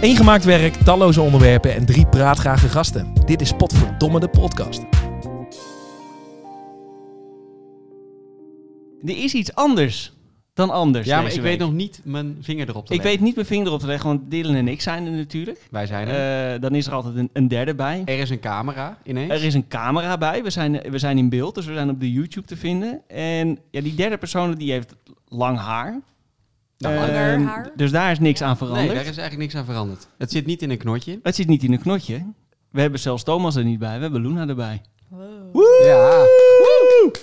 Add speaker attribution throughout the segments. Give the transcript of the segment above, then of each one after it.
Speaker 1: Eén gemaakt werk, talloze onderwerpen en drie praatgrage gasten. Dit is Potverdomme de podcast.
Speaker 2: Er is iets anders dan anders.
Speaker 3: Ja, maar
Speaker 2: deze
Speaker 3: ik
Speaker 2: week.
Speaker 3: weet nog niet mijn vinger erop te
Speaker 2: Ik weet niet mijn vinger op te leggen, want Dylan en ik zijn er natuurlijk.
Speaker 3: Wij zijn er.
Speaker 2: Eh, dan is er altijd een, een derde bij.
Speaker 3: er is een camera ineens.
Speaker 2: Er is een camera bij. We zijn, we zijn in beeld, dus we zijn op de YouTube te vinden. En ja, die derde persoon die heeft lang haar.
Speaker 3: Nou,
Speaker 2: Eh,
Speaker 4: langer haar.
Speaker 2: Dus daar is niks
Speaker 4: Ja.
Speaker 2: aan
Speaker 3: nee,
Speaker 2: veranderd.
Speaker 3: daar is eigenlijk niks aan veranderd. Het zit niet in een knotje.
Speaker 2: Het zit niet in een knotje. We hebben zelfs Thomas er niet bij. We hebben Luna erbij.
Speaker 4: Wow.
Speaker 2: Woe!
Speaker 3: Ja.
Speaker 2: Woe!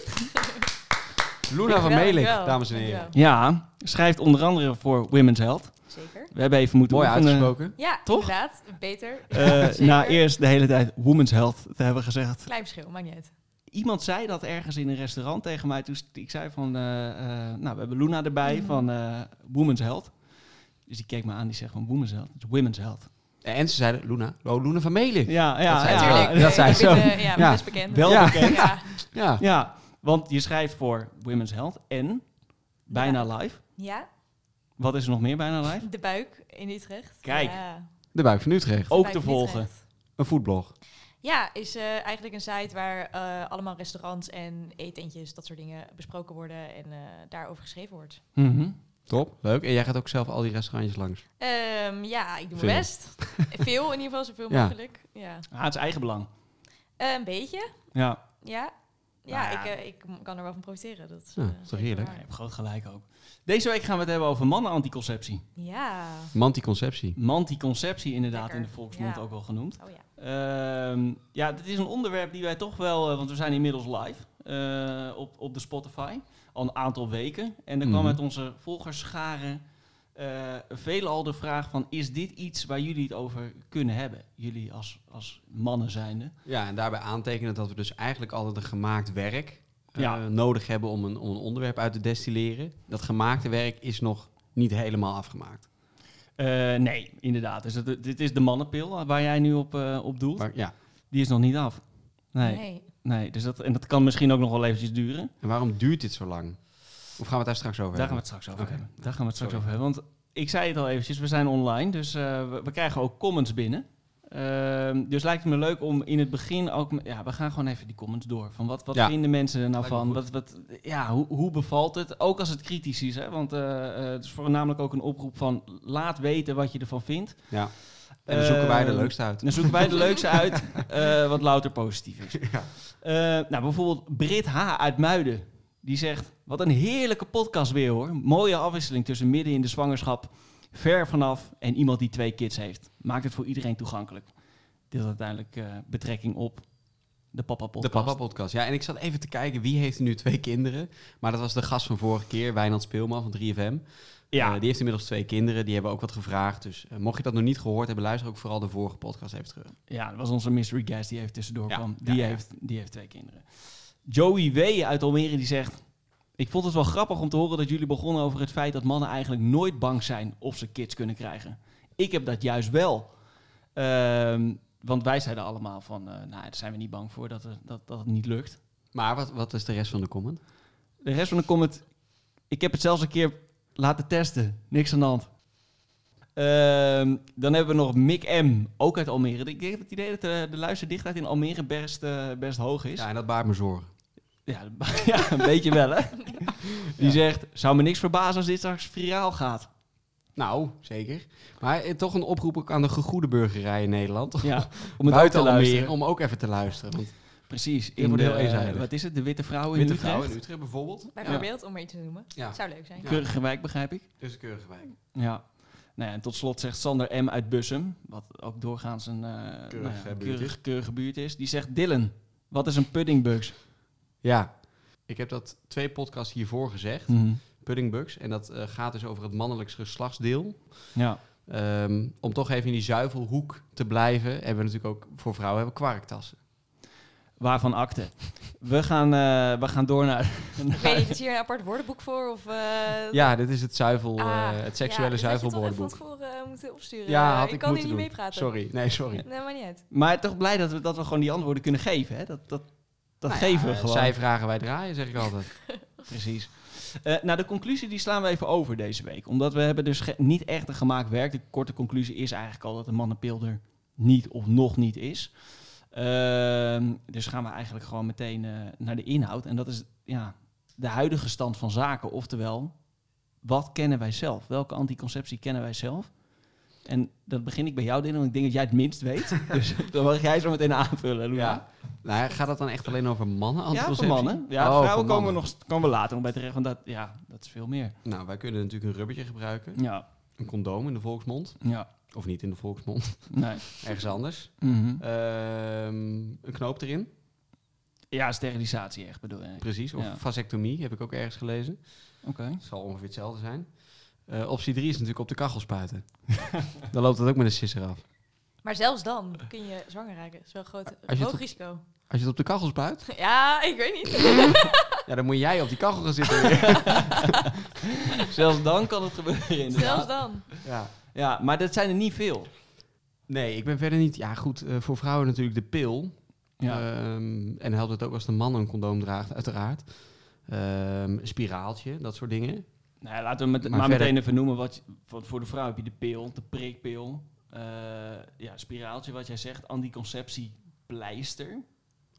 Speaker 3: Luna van
Speaker 4: Dankjewel,
Speaker 3: Melik,
Speaker 4: dankjewel.
Speaker 3: dames en heren.
Speaker 2: Ja, schrijft onder andere voor Women's Health.
Speaker 4: Zeker.
Speaker 2: We hebben even moeten
Speaker 3: Mooi
Speaker 2: oefenen,
Speaker 3: uitgesproken.
Speaker 4: Ja,
Speaker 2: Toch?
Speaker 4: inderdaad. Beter.
Speaker 2: eh,
Speaker 4: Zeker.
Speaker 2: na eerst de hele tijd Women's Health te hebben gezegd.
Speaker 4: Klein verschil, maakt niet uit.
Speaker 2: Iemand zei dat ergens in een restaurant tegen mij. Toen st- ik zei van, eh, eh, nou, we hebben Luna erbij van eh, Women's Health. Dus die keek me aan, die zegt van Women's Health. Het is Women's Health.
Speaker 3: En ze zeiden, Luna, oh, Luna van Melik.
Speaker 2: Ja,
Speaker 3: Dat
Speaker 2: ja,
Speaker 3: zei
Speaker 2: Ah, ja.
Speaker 3: ze wel.
Speaker 4: Natuurlijk.
Speaker 3: dat
Speaker 4: eh,
Speaker 3: zei
Speaker 4: ik
Speaker 3: ze
Speaker 4: ben,
Speaker 3: ook.
Speaker 4: eh, ja,
Speaker 3: Ja.
Speaker 4: best bekend.
Speaker 2: Wel
Speaker 3: Ja.
Speaker 2: bekend.
Speaker 4: Ja.
Speaker 3: Ja.
Speaker 2: Ja, want je schrijft voor Women's Health en Bijna Live.
Speaker 4: ja,
Speaker 2: Wat is er nog meer Bijna Live?
Speaker 4: de buik in Utrecht.
Speaker 2: Kijk.
Speaker 4: Ja,
Speaker 3: De buik van Utrecht.
Speaker 4: de
Speaker 2: Ook
Speaker 4: buik
Speaker 2: te
Speaker 4: in
Speaker 2: volgen.
Speaker 4: Utrecht.
Speaker 3: Een voetblog.
Speaker 4: Ja, is eh, eigenlijk een site waar eh, allemaal restaurants en eetentjes, dat soort dingen, besproken worden en eh, daarover geschreven wordt.
Speaker 2: Mhm.
Speaker 3: Top, leuk. En jij gaat ook zelf al die restaurantjes langs.
Speaker 4: Ehm, ja, ik doe
Speaker 3: Veel.
Speaker 4: mijn best. Veel in ieder geval, zoveel
Speaker 3: Ja.
Speaker 4: mogelijk. Ja.
Speaker 2: Ah, het is eigen belang.
Speaker 4: Eh, een beetje,
Speaker 2: Ja,
Speaker 4: ja. Ja,
Speaker 2: Nou ja.
Speaker 4: ik, eh, ik m- kan er wel van profiteren. Dat is,
Speaker 3: Ja,
Speaker 4: eh,
Speaker 3: is toch
Speaker 4: zeker
Speaker 3: heerlijk?
Speaker 2: je
Speaker 4: waar.
Speaker 2: hebt groot gelijk ook. Deze week gaan we het hebben over mannenanticonceptie.
Speaker 4: Ja.
Speaker 3: Manticonceptie.
Speaker 2: Manticonceptie inderdaad
Speaker 4: Lekker,
Speaker 2: in de volksmond
Speaker 4: ja.
Speaker 2: ook wel genoemd.
Speaker 4: Oh ja.
Speaker 2: Ehm, ja, dit is een onderwerp die wij toch wel, eh, want we zijn inmiddels live eh, op, op de Spotify al een aantal weken. En er kwam
Speaker 3: Mhm.
Speaker 2: uit onze volgerscharen eh veelal de vraag van, is dit iets waar jullie het over kunnen hebben? Jullie als, als mannen zijnde.
Speaker 3: Ja, en daarbij aantekenen dat we dus eigenlijk altijd een gemaakt werk eh,
Speaker 2: Ja.
Speaker 3: nodig hebben om een, om een onderwerp uit te destilleren. Dat gemaakte werk is nog niet helemaal afgemaakt.
Speaker 2: Eh, nee, inderdaad. Dus het- dit is de mannenpil eh, waar jij nu op, eh, op doelt.
Speaker 3: Maar, ja.
Speaker 2: Die is nog niet af. Nee, nee.
Speaker 4: Nee.
Speaker 2: dus dat, en dat kan misschien ook nog wel eventjes duren.
Speaker 3: En waarom duurt dit zo lang? Of gaan we het daar straks over
Speaker 2: Daar gaan we
Speaker 3: hebben?
Speaker 2: het straks over
Speaker 3: Oké.
Speaker 2: hebben. Daar gaan we het straks
Speaker 3: Sorry.
Speaker 2: over hebben. Want ik zei het al eventjes, we zijn online, dus eh, we, we krijgen ook comments binnen. Ehm, dus lijkt het me leuk om in het begin ook... m- Ja, we gaan gewoon even die comments door. Van wat, wat
Speaker 3: Ja.
Speaker 2: vinden mensen er nou
Speaker 3: Lijkt me
Speaker 2: van?
Speaker 3: goed.
Speaker 2: Wat, wat, ja, hoe, hoe bevalt het? Ook als het kritisch is, hè? want eh, eh, het is voornamelijk ook een oproep van... laat weten wat je ervan vindt.
Speaker 3: Ja. En dan zoeken wij de
Speaker 2: Ehm,
Speaker 3: leukste uit.
Speaker 2: Dan zoeken wij de leukste uit eh, wat louter positief is. Eh, nou, bijvoorbeeld Brit H. uit Muiden. Die zegt, wat een heerlijke podcast weer hoor. Mooie afwisseling tussen midden in de zwangerschap, ver vanaf en iemand die twee kids heeft. Maakt het voor iedereen toegankelijk. Dit had uiteindelijk eh, betrekking op de papa
Speaker 3: De
Speaker 2: podcast.
Speaker 3: Papa Podcast. Ja, en ik zat even te kijken wie heeft er nu twee kinderen. Maar dat was de gast van vorige keer, Wijnand Speelman van 3FM.
Speaker 2: Ja.
Speaker 3: Eh, die heeft inmiddels twee kinderen. Die hebben ook wat gevraagd. Dus eh, mocht je dat nog niet gehoord hebben, luister ook vooral de vorige podcast even terug.
Speaker 2: Ja, dat was onze mystery guest die even tussendoor
Speaker 3: Ja,
Speaker 2: kwam.
Speaker 3: ja,
Speaker 2: Die,
Speaker 3: ja.
Speaker 2: Heeft, die heeft twee kinderen. Joey W. uit Almere die zegt... Ik vond het wel grappig om te horen dat jullie begonnen over het feit dat mannen eigenlijk nooit bang zijn of ze kids kunnen krijgen. Ik heb dat juist wel. Ehm, want wij zeiden allemaal van, eh, nou daar zijn we niet bang voor dat, er- dat, dat het niet lukt.
Speaker 3: Maar wat, wat is de rest van de comment?
Speaker 2: De rest van de comment, ik heb het zelfs een keer laten testen. Niks aan de hand. Ehm, dan hebben we nog Mick M, ook uit Almere. Ik heb het idee dat eh, de, de luisterdichtheid in Almere best, eh, best hoog is.
Speaker 3: Ja,
Speaker 2: Ja,
Speaker 3: en dat baart me zorgen.
Speaker 2: ja, een beetje wel, hè? Die zegt, zou me niks verbazen als dit straks viraal gaat.
Speaker 3: Nou, zeker. Maar eh, toch een oproep ook aan de gegoede burgerij in Nederland.
Speaker 2: Ja, om
Speaker 3: Om
Speaker 2: het ook
Speaker 3: het
Speaker 2: te
Speaker 3: buiten
Speaker 2: luisteren.
Speaker 3: Almere, om ook even te luisteren. Want
Speaker 2: Precies.
Speaker 3: Dit wordt heel
Speaker 2: de, eh,
Speaker 3: eenzijdig.
Speaker 2: Wat is het? De Witte Vrouwen in
Speaker 3: witte
Speaker 2: Utrecht?
Speaker 3: vrouwen in Utrecht bijvoorbeeld.
Speaker 4: Bijvoorbeeld, om er iets te noemen.
Speaker 3: Ja,
Speaker 4: Zou leuk zijn.
Speaker 2: Keurige wijk, begrijp ik.
Speaker 3: dus de keurige wijk.
Speaker 2: Ja. Nou ja, en tot slot zegt Sander M. uit Bussum, wat ook doorgaans een eh, nou ja,
Speaker 3: buurt
Speaker 2: keurige, keurige buurt is. Die zegt, Dylan, wat is een puddingbugs?
Speaker 3: Ja, ik heb dat twee podcasts hiervoor gezegd.
Speaker 2: Mhm.
Speaker 3: Puddingbugs. En dat eh, gaat dus over het mannelijks geslachtsdeel.
Speaker 2: Ja.
Speaker 3: Ehm, om toch even in die zuivelhoek te blijven, hebben we natuurlijk ook voor vrouwen hebben we kwarktassen.
Speaker 2: Waarvan akte? We gaan, eh, we gaan door naar...
Speaker 4: Ik weet niet, is hier een apart woordenboek voor? Of, eh,
Speaker 3: Ja, dit is het, zuivel, eh,
Speaker 4: ah,
Speaker 3: het
Speaker 4: ja,
Speaker 3: seksuele
Speaker 4: dus had je toch even
Speaker 3: zuivelwoordenboek.
Speaker 4: van tevoren, eh, moeten opsturen.
Speaker 3: Ja, had
Speaker 4: ik,
Speaker 3: ik
Speaker 4: kan
Speaker 3: moeten
Speaker 4: hier niet
Speaker 3: doen.
Speaker 4: mee praten.
Speaker 3: Sorry, nee, sorry.
Speaker 4: Nee, maar niet uit.
Speaker 2: Maar toch blij dat we, dat we gewoon die antwoorden kunnen geven. Hè? Dat, dat, dat
Speaker 3: Nou ja,
Speaker 2: geven we
Speaker 3: eh,
Speaker 2: gewoon.
Speaker 3: Zij vragen, wij draaien, zeg ik altijd.
Speaker 2: Precies. Eh, nou, de conclusie die slaan we even over deze week. Omdat we hebben dus ge- niet echt een gemaakt werk. De korte conclusie is eigenlijk al dat de mannenpil er niet of nog niet is. Ehm, dus gaan we eigenlijk gewoon meteen eh, naar de inhoud. En dat is ja, de huidige stand van zaken. Oftewel, wat kennen wij zelf? Welke anticonceptie kennen wij zelf? En dat begin ik bij jou, Dylan, want ik denk dat jij het minst weet. dus dan mag jij zo meteen aanvullen, Luna.
Speaker 3: Ja. Nou, ja, gaat dat dan echt alleen over mannen?
Speaker 2: Ja, voor
Speaker 3: anticonceptie?
Speaker 2: mannen. Ja,
Speaker 3: Oh, voor
Speaker 2: vrouwen komen, we
Speaker 3: mannen.
Speaker 2: nog, komen we later nog bij terecht, want dat, ja, dat is veel meer.
Speaker 3: Nou, wij kunnen natuurlijk een rubbertje gebruiken.
Speaker 2: Ja,
Speaker 3: Een condoom in de volksmond.
Speaker 2: ja,
Speaker 3: Of niet in de volksmond.
Speaker 2: nee.
Speaker 3: Ergens anders.
Speaker 2: Mhm.
Speaker 3: Ehm, een knoop erin.
Speaker 2: Ja, sterilisatie echt bedoel ik.
Speaker 3: Precies. Of
Speaker 2: Ja.
Speaker 3: vasectomie, heb ik ook ergens gelezen.
Speaker 2: Oké.
Speaker 3: Het zal ongeveer hetzelfde zijn. Eh, optie 3 is natuurlijk op de kachel spuiten. dan loopt dat ook met een sisser af.
Speaker 4: Maar zelfs dan kun je zwanger raken. Dat is wel een groot,
Speaker 3: Als je
Speaker 4: hoog
Speaker 3: tot-
Speaker 4: risico.
Speaker 3: Als je het op de kachel spuit,
Speaker 4: Ja, ik weet niet.
Speaker 3: ja, dan moet jij op die kachel gaan zitten.
Speaker 2: Zelfs dan kan het gebeuren inderdaad.
Speaker 4: zelfs dan.
Speaker 3: ja.
Speaker 2: Ja, maar dat zijn er niet veel.
Speaker 3: Nee, ik ben verder niet... Ja, goed, eh, voor vrouwen natuurlijk de pil.
Speaker 2: Ja.
Speaker 3: Ehm, en helpt het ook als de man een condoom draagt, uiteraard. Ehm, spiraaltje, dat soort dingen.
Speaker 2: nou, ja, laten we met, maar,
Speaker 3: maar verder-
Speaker 2: meteen even noemen. Wat, je- wat voor de vrouw heb je de pil, de prikpil. eh, ja, spiraaltje, wat jij zegt. Anticonceptiepleister.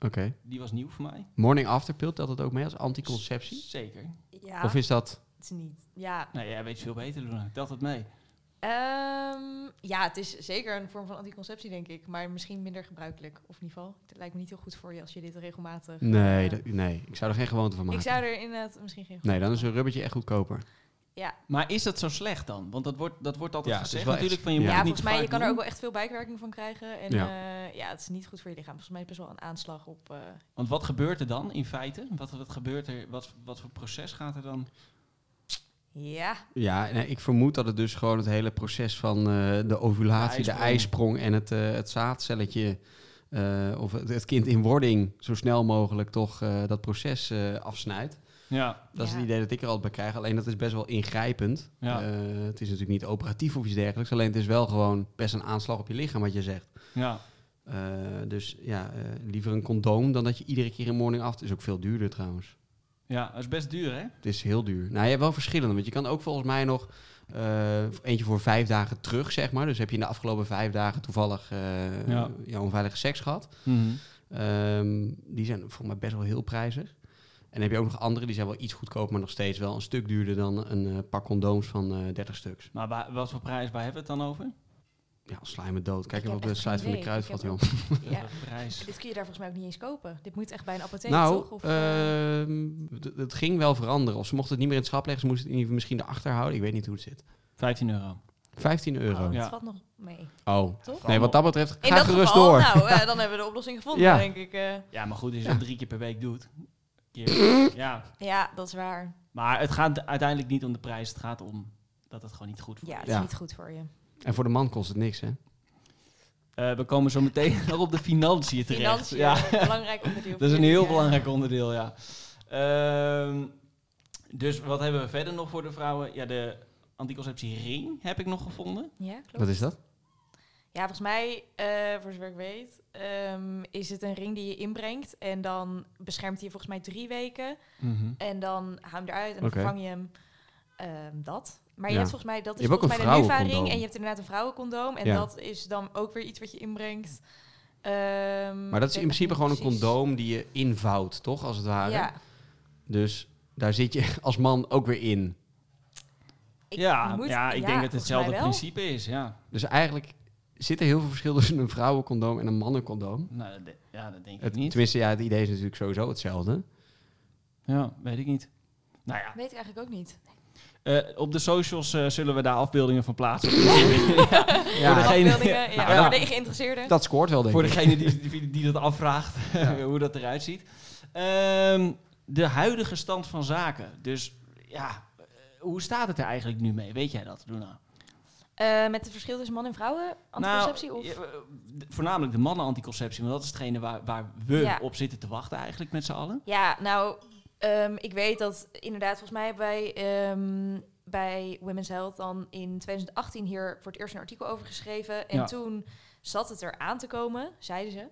Speaker 3: Oké.
Speaker 2: Die was nieuw voor mij.
Speaker 3: Morning after pil, telt dat ook mee als anticonceptie?
Speaker 2: Zeker.
Speaker 4: Ja,
Speaker 3: Of is dat...
Speaker 4: het is niet. Ja.
Speaker 2: Nou, jij weet veel beter, Luna. Telt dat mee.
Speaker 4: Ehm, ja, het is zeker een vorm van anticonceptie, denk ik. Maar misschien minder gebruikelijk. Of in ieder geval, het lijkt me niet heel goed voor je als je dit regelmatig...
Speaker 3: Nee,
Speaker 4: eh,
Speaker 3: dat- nee, ik zou er geen gewoonte van
Speaker 4: Ik
Speaker 3: maken.
Speaker 4: zou er inderdaad misschien geen...
Speaker 3: Nee, dan is een rubbertje echt goedkoper.
Speaker 4: Ja,
Speaker 2: Maar is dat zo slecht dan? Want dat wordt, dat wordt altijd
Speaker 3: Ja, het is
Speaker 2: gezegd
Speaker 3: wel
Speaker 2: natuurlijk
Speaker 3: echt-
Speaker 2: van je
Speaker 3: ja.
Speaker 4: ja,
Speaker 2: moet het niet
Speaker 4: volgens mij,
Speaker 2: vaak
Speaker 4: je kan er ook
Speaker 2: doen.
Speaker 4: wel echt veel bijwerking van krijgen. En
Speaker 3: Ja.
Speaker 4: ja. ja, het is niet goed voor je lichaam. Volgens mij is het best wel een aanslag op... eh,
Speaker 2: Want wat gebeurt er dan in feite? Wat, wat gebeurt er? Wat, wat voor proces gaat er dan?
Speaker 4: ja,
Speaker 3: Ja, nee, ik vermoed dat het dus gewoon het hele proces van eh, de ovulatie,
Speaker 2: De
Speaker 3: de
Speaker 2: ijsprong.
Speaker 3: ijsprong, en het, eh, het zaadcelletje, eh, of het, het kind in wording, zo snel mogelijk toch eh, dat proces eh, afsnijdt.
Speaker 2: Ja,
Speaker 3: Dat is
Speaker 4: Ja.
Speaker 3: het idee dat ik er altijd bij krijg. Alleen dat is best wel ingrijpend.
Speaker 2: Ja.
Speaker 3: Eh, het is natuurlijk niet operatief of iets dergelijks. Alleen het is wel gewoon best een aanslag op je lichaam, wat je zegt.
Speaker 2: ja.
Speaker 3: Eh, dus ja, eh, liever een condoom dan dat je iedere keer een morning after... is ook veel duurder trouwens.
Speaker 2: ja, dat is best duur hè?
Speaker 3: Het is heel duur. Nou, je hebt wel verschillende. Want je kan ook volgens mij nog eh, eentje voor vijf dagen terug, zeg maar. Dus heb je in de afgelopen vijf dagen toevallig eh,
Speaker 2: Ja.
Speaker 3: ja. onveilige seks gehad. Ehm, die zijn volgens mij best wel heel prijzig. En dan heb je ook nog andere, die zijn wel iets goedkoper, maar nog steeds wel een stuk duurder dan een eh, paar condooms van eh 30 stuks.
Speaker 2: Maar wa- wat voor prijs, waar hebben we het dan over?
Speaker 3: Ja, sla je me dood. Kijk
Speaker 4: Ik
Speaker 3: even op
Speaker 4: heb
Speaker 3: de
Speaker 4: echt geen
Speaker 3: site van de
Speaker 4: idee.
Speaker 3: kruidvat,
Speaker 4: Ik heb
Speaker 3: joh.
Speaker 4: ja.
Speaker 2: Wat voor prijs?
Speaker 4: Dit kun je daar volgens mij ook niet eens kopen. Dit moet echt bij een apotheek,
Speaker 3: Nou,
Speaker 4: toch? Of, eh,
Speaker 3: ehm, d- het ging wel veranderen. Of ze mochten het niet meer in het schap leggen, ze moesten het in ieder geval misschien erachter houden. Ik weet niet hoe het zit.
Speaker 2: 15 euro.
Speaker 3: 15 euro.
Speaker 4: oh,
Speaker 2: ja.
Speaker 4: Het valt nog mee,
Speaker 3: Oh.
Speaker 4: toch?
Speaker 3: Nee, wat dat betreft,
Speaker 4: In
Speaker 3: ga
Speaker 4: dat
Speaker 3: gerust
Speaker 4: geval,
Speaker 3: door.
Speaker 4: nou, eh, dan hebben we de oplossing gevonden,
Speaker 3: Ja.
Speaker 4: denk ik. eh.
Speaker 2: Ja, maar goed, als je dat drie keer per week doet. Keer- ja,
Speaker 4: ja, dat is waar.
Speaker 2: maar het gaat uiteindelijk niet om de prijs. Het gaat om dat het gewoon niet goed voor
Speaker 4: Ja,
Speaker 2: je
Speaker 4: het
Speaker 2: is.
Speaker 4: is
Speaker 3: Ja.
Speaker 4: niet goed voor je.
Speaker 3: En voor de man kost het niks, hè?
Speaker 2: Eh, we komen zo meteen nog op de financiën terecht.
Speaker 4: Financiën,
Speaker 2: Ja.
Speaker 4: belangrijk onderdeel.
Speaker 2: Dat is een heel
Speaker 4: Ja.
Speaker 2: belangrijk onderdeel, ja. Ehm, dus wat hebben we verder nog voor de vrouwen? Ja, de anticonceptiering heb ik nog gevonden.
Speaker 4: Ja, klopt.
Speaker 3: Wat is dat?
Speaker 4: Ja, volgens mij, eh, voor zover ik weet, ehm, is het een ring die je inbrengt. En dan beschermt hij je volgens mij drie weken. En dan haal je hem eruit en dan
Speaker 3: Oké.
Speaker 4: vervang je hem. ehm, dat. Maar je
Speaker 3: Ja.
Speaker 4: hebt volgens mij, dat
Speaker 3: Je
Speaker 4: is
Speaker 3: hebt ook
Speaker 4: volgens
Speaker 3: een
Speaker 4: mij de Nuva-ring.
Speaker 3: vrouwencondoom.
Speaker 4: En je hebt inderdaad een vrouwencondoom. En
Speaker 3: Ja.
Speaker 4: dat is dan ook weer iets wat je inbrengt. Ehm,
Speaker 3: Maar dat is in principe gewoon een condoom die je invouwt, toch? Als het ware.
Speaker 4: Ja,
Speaker 3: Dus daar zit je als man ook weer in.
Speaker 4: Ik
Speaker 2: ja,
Speaker 4: moet-
Speaker 2: ja, ik
Speaker 4: ja,
Speaker 2: denk dat het
Speaker 4: volgens mij
Speaker 2: hetzelfde
Speaker 4: wel.
Speaker 2: principe is, ja.
Speaker 3: Dus eigenlijk zit er heel veel verschil tussen een vrouwencondoom en een mannencondoom.
Speaker 2: Nou, dat de- ja, dat denk ik
Speaker 3: Het,
Speaker 2: niet.
Speaker 3: tenminste, ja, het idee is natuurlijk sowieso hetzelfde.
Speaker 2: Ja, weet ik niet. Nou ja,
Speaker 4: weet ik eigenlijk ook niet.
Speaker 2: eh, op de socials eh, zullen we daar afbeeldingen van plaatsen.
Speaker 3: Ja,
Speaker 2: degene-
Speaker 4: Afbeeldingen, ja,
Speaker 2: Nou,
Speaker 4: voor de geïnteresseerden.
Speaker 3: dat scoort wel, denk
Speaker 2: Voor
Speaker 3: ik.
Speaker 2: degene die, die, die dat afvraagt, hoe dat eruit ziet. Ehm, de huidige stand van zaken. Dus ja, eh, hoe staat het er eigenlijk nu mee? Weet jij dat, Luna?
Speaker 4: Eh, met het verschil tussen man en vrouwen? Anticonceptie?
Speaker 2: Nou,
Speaker 4: of?
Speaker 2: ja, eh, d- voornamelijk de mannen-anticonceptie, want dat is hetgene waar, waar we
Speaker 4: Ja.
Speaker 2: op zitten te wachten eigenlijk met z'n allen.
Speaker 4: Ja, nou, ehm, ik weet dat inderdaad, volgens mij hebben wij ehm, bij Women's Health dan in 2018 hier voor het eerst een artikel over geschreven. En
Speaker 2: Ja.
Speaker 4: toen zat het er aan te komen, zeiden ze.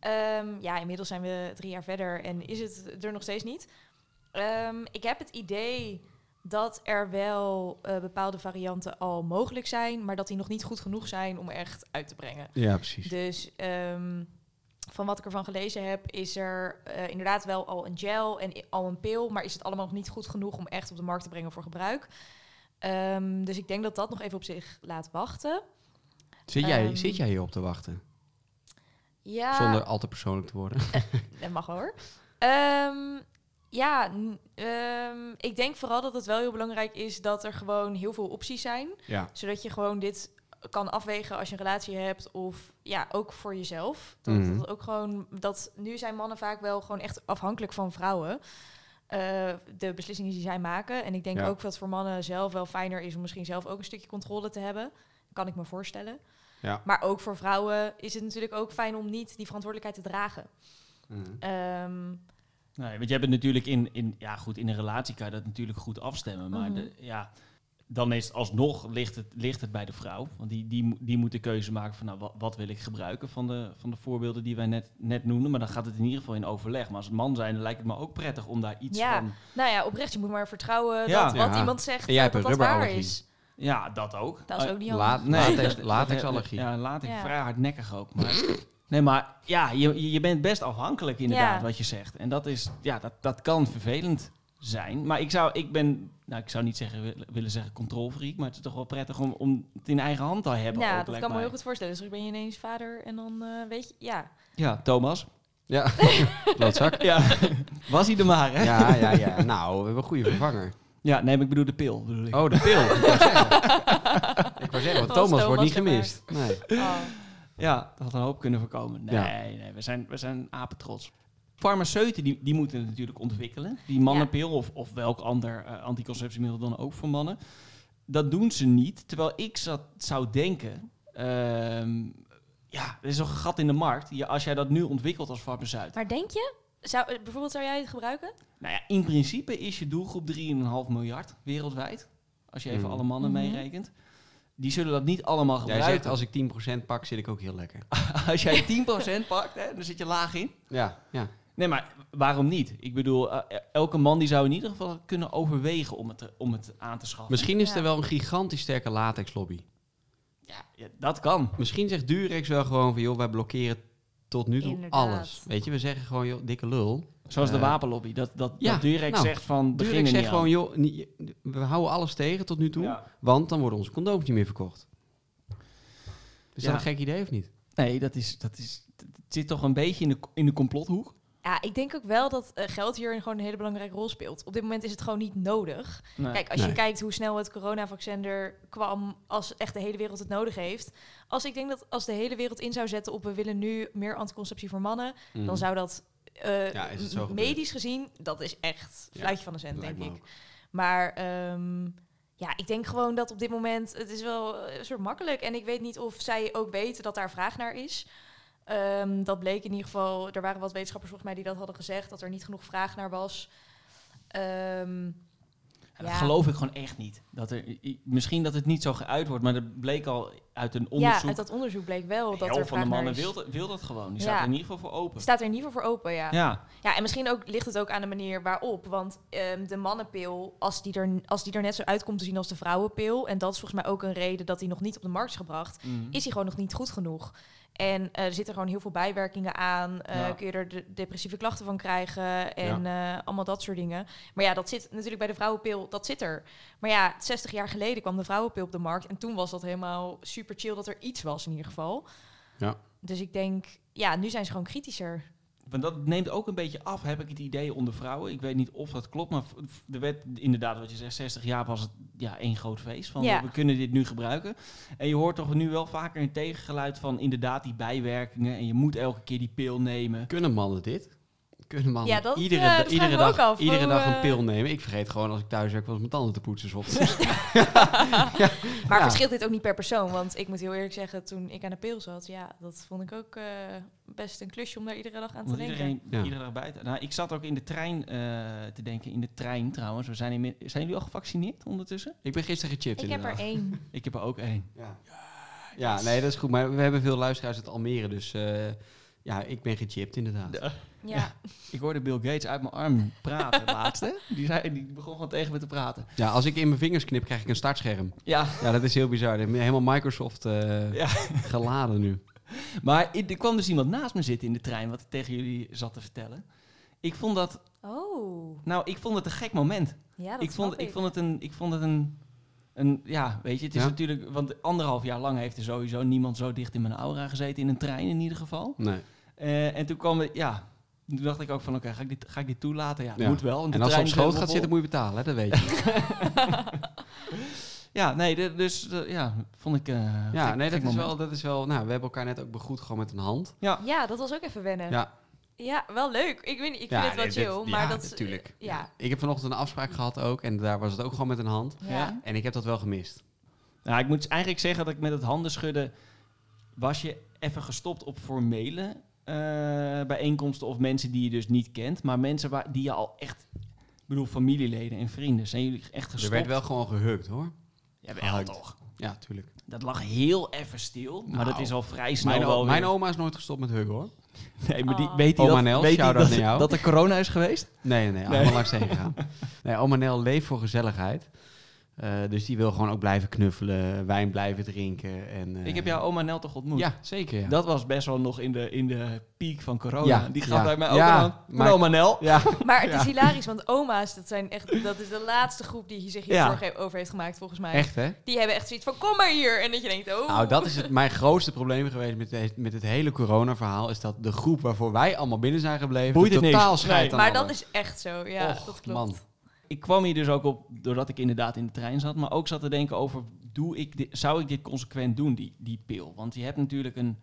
Speaker 4: Ehm, ja, inmiddels zijn we drie jaar verder en is het er nog steeds niet. Ehm, ik heb het idee dat er wel eh, bepaalde varianten al mogelijk zijn, maar dat die nog niet goed genoeg zijn om echt uit te brengen.
Speaker 3: Ja, precies.
Speaker 4: Dus ehm, van wat ik ervan gelezen heb, is er eh, inderdaad wel al een gel en i- al een pil, maar is het allemaal nog niet goed genoeg om echt op de markt te brengen voor gebruik. Ehm, dus ik denk dat dat nog even op zich laat wachten.
Speaker 3: Zit jij,
Speaker 4: Ehm,
Speaker 3: zit jij hierop te wachten?
Speaker 4: Ja,
Speaker 3: Zonder al te persoonlijk te worden.
Speaker 4: dat mag hoor. Ehm, ja, n- ehm, ik denk vooral dat het wel heel belangrijk is dat er gewoon heel veel opties zijn.
Speaker 3: Ja.
Speaker 4: Zodat je gewoon dit kan afwegen als je een relatie hebt of ja, ook voor jezelf. Dat,
Speaker 3: Mhm.
Speaker 4: dat ook gewoon dat nu zijn mannen vaak wel gewoon echt afhankelijk van vrouwen. eh, de beslissingen die zij maken. En ik denk
Speaker 3: Ja.
Speaker 4: ook dat voor mannen zelf wel fijner is om misschien zelf ook een stukje controle te hebben. Kan ik me voorstellen.
Speaker 3: Ja.
Speaker 4: Maar ook voor vrouwen is het natuurlijk ook fijn om niet die verantwoordelijkheid te dragen. Ehm,
Speaker 2: Nee, want jij bent natuurlijk in, in, ja, goed, in een relatie kan je dat natuurlijk goed afstemmen. Maar
Speaker 4: Mhm.
Speaker 2: de- ja, dan is het alsnog ligt het, ligt het bij de vrouw. Want die, die, mo- die moet de keuze maken van nou, wat, wat wil ik gebruiken van de, van de voorbeelden die wij net, net noemden. Maar dan gaat het in ieder geval in overleg. Maar als man zijn, dan lijkt het me ook prettig om daar iets
Speaker 4: Ja.
Speaker 2: van.
Speaker 4: nou ja, oprecht, je moet maar vertrouwen
Speaker 2: Ja.
Speaker 4: dat wat
Speaker 3: Ja.
Speaker 4: iemand zegt
Speaker 3: En jij
Speaker 4: dat
Speaker 3: hebt
Speaker 4: dat
Speaker 3: een
Speaker 4: waar
Speaker 3: rubberallergie.
Speaker 4: is.
Speaker 2: Ja, dat ook.
Speaker 4: Dat is ook niet handig.
Speaker 3: Laat, latex, latexallergie.
Speaker 2: Ja, latex
Speaker 4: Ja.
Speaker 2: vrij hardnekkig ook. Maar, nee, maar ja, je, je bent best afhankelijk inderdaad
Speaker 4: Ja.
Speaker 2: wat je zegt. En dat, is, ja, dat, dat kan vervelend zijn. Maar ik zou, ik ben, nou, ik zou niet zeggen, wil- willen zeggen controlfreak, maar het is toch wel prettig om, om het in eigen hand te hebben.
Speaker 4: Ja,
Speaker 2: ook,
Speaker 4: Nou, dat
Speaker 2: lijkt
Speaker 4: kan me
Speaker 2: mij.
Speaker 4: heel goed voorstellen. Dus dan ben je ineens vader en dan eh, weet je, ja.
Speaker 2: Ja, Thomas.
Speaker 3: Ja, klootzak.
Speaker 2: Ja, was hij er maar, hè? Ja,
Speaker 3: Ja, ja, ja. Nou, we hebben een goede vervanger.
Speaker 2: nee, maar ik bedoel de pil. Bedoel ik.
Speaker 3: Oh, de pil. ik wou zeggen. Ik wou zeggen, want
Speaker 4: Was
Speaker 3: Thomas wordt
Speaker 4: Thomas
Speaker 3: niet
Speaker 4: erbij.
Speaker 3: gemist. Nee.
Speaker 4: Oh.
Speaker 2: Ja, dat had een hoop kunnen voorkomen. Nee,
Speaker 3: Ja.
Speaker 2: nee we, zijn, we zijn apetrots. Farmaceuten die, die moeten het natuurlijk ontwikkelen. Die mannenpil of, of welk ander eh, anticonceptiemiddel dan ook voor mannen. Dat doen ze niet. Terwijl ik zat, zou denken... ehm, ja, er is nog een gat in de markt. Ja, als jij dat nu ontwikkelt als farmaceut.
Speaker 4: Maar denk je, zou, eh, bijvoorbeeld zou jij het gebruiken?
Speaker 2: Nou ja, in principe is je doelgroep 3,5 miljard wereldwijd. Als je even
Speaker 3: Mm.
Speaker 2: alle mannen
Speaker 4: Mhm.
Speaker 2: meerekent. Die zullen dat niet allemaal
Speaker 3: Jij
Speaker 2: gebruiken.
Speaker 3: zegt, als ik 10% pak, zit ik ook heel lekker.
Speaker 2: als jij 10% pakt, hè, dan zit je laag in.
Speaker 3: Ja, ja.
Speaker 2: Nee, maar waarom niet? Ik bedoel, eh, elke man die zou in ieder geval kunnen overwegen om het, te- om het aan te schaffen.
Speaker 3: Misschien is er
Speaker 4: Ja.
Speaker 3: wel een gigantisch sterke latexlobby.
Speaker 2: Ja, ja, dat kan.
Speaker 3: Misschien zegt Durex wel gewoon van, joh, wij blokkeren tot nu toe
Speaker 4: Inderdaad.
Speaker 3: alles. Weet je, we zeggen gewoon, joh, dikke lul.
Speaker 2: Zoals de
Speaker 3: Eh,
Speaker 2: wapenlobby. Dat, dat,
Speaker 3: ja,
Speaker 2: dat Durex
Speaker 3: nou,
Speaker 2: zegt van, begin
Speaker 3: Durex
Speaker 2: er niet
Speaker 3: zegt gewoon, joh, niet- we houden alles tegen tot nu toe,
Speaker 2: Ja.
Speaker 3: want dan worden onze condooms niet meer verkocht. Is
Speaker 2: Ja.
Speaker 3: dat een gek idee of niet?
Speaker 2: aan. Nee, dat, is, dat, is, het zit toch een beetje in de, in de complothoek.
Speaker 4: Ja, ik denk ook wel dat eh, geld hierin gewoon een hele belangrijke rol speelt. Op dit moment is het gewoon niet nodig.
Speaker 2: Nee.
Speaker 4: Kijk, als je
Speaker 3: Nee.
Speaker 4: kijkt hoe snel het coronavaccin er kwam, als echt de hele wereld het nodig heeft. Als ik denk dat als de hele wereld in zou zetten op we willen nu meer anticonceptie voor mannen, dan zou dat eh,
Speaker 3: Mm. Ja, is het zo
Speaker 4: m-
Speaker 3: gebeurd?
Speaker 4: medisch gezien, dat is echt
Speaker 3: Ja,
Speaker 4: fluitje van de cent,
Speaker 3: Lijkt
Speaker 4: denk
Speaker 3: me
Speaker 4: ik.
Speaker 3: ook.
Speaker 4: Maar ehm, ja, ik denk gewoon dat op dit moment het is wel eh, een soort makkelijk. En ik weet niet of zij ook weten dat daar vraag naar is. Ehm, dat bleek in ieder geval. Er waren wat wetenschappers volgens mij die dat hadden gezegd dat er niet genoeg vraag naar was. Ehm,
Speaker 2: En Dat
Speaker 4: Ja.
Speaker 2: geloof ik gewoon echt niet. Dat er, i- i- misschien dat het niet zo geuit wordt, maar dat bleek al uit een
Speaker 4: ja,
Speaker 2: onderzoek.
Speaker 4: uit dat onderzoek bleek wel
Speaker 2: de
Speaker 4: dat er
Speaker 2: helft van de
Speaker 4: vraag naar
Speaker 2: mannen
Speaker 4: is.
Speaker 2: wil, dat- wil dat gewoon. Die
Speaker 4: Ja.
Speaker 2: staat er in ieder geval voor open.
Speaker 4: Staat er in ieder geval voor open, ja. ja.
Speaker 2: Ja,
Speaker 4: en misschien ook ligt het ook aan de manier waarop. Want ehm, de mannenpil, als die, er, als die er net zo uit komt te zien als de vrouwenpil... en dat is volgens mij ook een reden dat die nog niet op de markt is gebracht...
Speaker 2: Mm.
Speaker 4: is hij gewoon nog niet goed genoeg. En eh, er zitten gewoon heel veel bijwerkingen aan. Eh,
Speaker 2: Ja.
Speaker 4: Kun je er de depressieve klachten van krijgen en eh, allemaal dat soort dingen. Maar ja, dat zit natuurlijk bij de vrouwenpil, dat zit er. Maar ja, 60 jaar geleden kwam de vrouwenpil op de markt. En toen was dat helemaal super chill dat er iets was in ieder geval.
Speaker 3: Ja.
Speaker 4: Dus ik denk, ja, nu zijn ze gewoon kritischer.
Speaker 2: Want dat neemt ook een beetje af, heb ik het idee, onder vrouwen. Ik weet niet of dat klopt, maar v- v- er werd inderdaad, wat je zegt, 60 jaar was het ja, één groot feest. Van
Speaker 4: Ja.
Speaker 2: we kunnen dit nu gebruiken. En je hoort toch nu wel vaker een tegengeluid van inderdaad die bijwerkingen. En je moet elke keer die pil nemen.
Speaker 3: Kunnen mannen dit? Kunnen mannen
Speaker 4: Ja, dat,
Speaker 3: iedere,
Speaker 4: eh,
Speaker 3: da-
Speaker 4: dat vraag
Speaker 3: iedere
Speaker 4: ik me
Speaker 3: dag,
Speaker 4: ook af.
Speaker 3: iedere
Speaker 4: Hoe,
Speaker 3: dag een
Speaker 4: eh,
Speaker 3: pil nemen? Ik vergeet gewoon als ik thuis werk wel eens mijn tanden te poetsen. 's ochtends.
Speaker 4: Maar
Speaker 3: Ja.
Speaker 4: verschilt dit ook niet per persoon? Want ik moet heel eerlijk zeggen, toen ik aan de pil zat... ja, dat vond ik ook eh, best een klusje om daar iedere dag aan te
Speaker 2: Want
Speaker 4: denken.
Speaker 2: iedereen,
Speaker 3: Ja.
Speaker 2: iedere dag buiten. Nou, ik zat ook in de trein eh, te denken, in de trein trouwens. We zijn, inmi- zijn jullie al gevaccineerd ondertussen?
Speaker 3: ik ben gisteren gechipt
Speaker 4: Ik heb er
Speaker 3: inderdaad.
Speaker 4: één.
Speaker 2: Ik heb er ook één.
Speaker 3: Ja. ja, nee, dat is goed. Maar we hebben veel luisteraars uit Almere, dus eh, Ja, ik ben gechipt inderdaad.
Speaker 2: Ja.
Speaker 4: Ja.
Speaker 2: Ja. Ik hoorde Bill Gates uit mijn arm praten laatst. Hè? Die, zei, die begon gewoon tegen me te praten.
Speaker 3: Ja, als ik in mijn vingers knip, krijg ik een startscherm.
Speaker 2: Ja,
Speaker 3: Ja, dat is heel bizar. Helemaal Microsoft eh,
Speaker 2: Ja.
Speaker 3: geladen nu.
Speaker 2: maar i- er kwam dus iemand naast me zitten in de trein, wat ik tegen jullie zat te vertellen. Ik vond dat,
Speaker 4: Oh,
Speaker 2: nou, ik vond het een gek moment.
Speaker 4: ja, dat
Speaker 2: ik, vond,
Speaker 4: snap
Speaker 2: ik. vond het een. Ik vond het een een, ja, weet je, het is
Speaker 3: Ja.
Speaker 2: natuurlijk, want anderhalf jaar lang heeft er sowieso niemand zo dicht in mijn aura gezeten, in een trein in ieder geval.
Speaker 3: Nee.
Speaker 2: Eh, en toen kwam het, ja, toen dacht ik ook van, oké, ga ik dit, ga ik dit toelaten? Ja,
Speaker 3: Ja.
Speaker 2: moet wel. want de
Speaker 3: En als ze op
Speaker 2: trein is
Speaker 3: schoot
Speaker 2: helemaal vol.
Speaker 3: gaat zitten, moet je betalen, hè? dat weet je.
Speaker 2: Ja, nee, de- dus eh, ja, vond ik. eh,
Speaker 3: ja,
Speaker 2: gek-
Speaker 3: nee,
Speaker 2: gek
Speaker 3: dat is,
Speaker 2: moment.
Speaker 3: wel, dat is wel... Nou, we hebben elkaar net ook begroet gewoon met een hand.
Speaker 4: Ja, dat was ook even wennen.
Speaker 3: Ja.
Speaker 4: Ja, wel leuk. Ik, weet, niet, ik
Speaker 3: Ja,
Speaker 4: vind
Speaker 3: nee,
Speaker 4: het wel
Speaker 3: dit-
Speaker 4: chill,
Speaker 3: ja,
Speaker 4: maar dat... eh,
Speaker 3: natuurlijk.
Speaker 4: Ja.
Speaker 3: Ik heb vanochtend een afspraak gehad ook en daar was het ook gewoon met een hand.
Speaker 4: Ja.
Speaker 2: Ja.
Speaker 3: En ik heb dat wel gemist.
Speaker 2: Nou, ik moet eigenlijk zeggen dat ik met het handen schudden. was je even gestopt op formele eh, bijeenkomsten. of mensen die je dus niet kent. maar mensen waar, die je al echt. Ik bedoel, familieleden en vrienden. Zijn jullie echt
Speaker 3: Er
Speaker 2: gestopt?
Speaker 3: werd wel gewoon gehukt, hoor.
Speaker 2: Ja, wel
Speaker 3: gehakt.
Speaker 2: toch?
Speaker 3: Ja, tuurlijk.
Speaker 2: Dat lag heel even stil. maar
Speaker 3: Nou,
Speaker 2: dat is al vrij snel.
Speaker 3: Mijn, o-
Speaker 2: wel weer-
Speaker 3: mijn oma is nooit gestopt met huggen, hoor.
Speaker 2: Nee, maar die,
Speaker 4: Oh.
Speaker 2: weet hij
Speaker 3: Oma
Speaker 2: dat,
Speaker 3: Nels,
Speaker 2: weet die
Speaker 3: shout-out
Speaker 2: dat,
Speaker 3: naar jou.
Speaker 2: dat er corona is geweest?
Speaker 3: Nee, nee, nee. Allemaal langs heen gegaan. Nee, oma Nel leeft voor gezelligheid. Eh, dus die wil gewoon ook blijven knuffelen, wijn blijven drinken. En, eh,
Speaker 2: Ik heb jouw oma Nel toch ontmoet?
Speaker 3: Ja, zeker. Ja.
Speaker 2: Dat was best wel nog in de, in de piek van corona.
Speaker 3: Ja,
Speaker 2: die gaf
Speaker 3: ja.
Speaker 2: bij mij ook
Speaker 3: Ja,
Speaker 2: aan.
Speaker 3: maar-
Speaker 2: Maar oma Nel.
Speaker 3: ja.
Speaker 4: Maar het is hilarisch, want oma's, dat, zijn echt, dat is de laatste groep die zich
Speaker 2: Ja.
Speaker 4: hiervoor ge- over heeft gemaakt, volgens mij.
Speaker 3: echt hè?
Speaker 4: Die hebben echt zoiets van, kom maar hier. En dat je denkt, oh...
Speaker 3: Nou, dat is het, mijn grootste probleem geweest met, deze- met het hele corona-verhaal. Is dat de groep waarvoor wij allemaal binnen zijn gebleven.
Speaker 2: Boeit het
Speaker 3: totaal
Speaker 2: niks.
Speaker 3: scheidt
Speaker 2: Nee.
Speaker 3: aan
Speaker 4: maar dat
Speaker 3: alles.
Speaker 4: is echt zo, ja,
Speaker 3: Och,
Speaker 4: dat klopt.
Speaker 3: Man.
Speaker 2: Ik kwam hier dus ook op doordat ik inderdaad in de trein zat. Maar ook zat te denken over, doe ik di- zou ik dit consequent doen, die, die pil? Want je hebt natuurlijk een...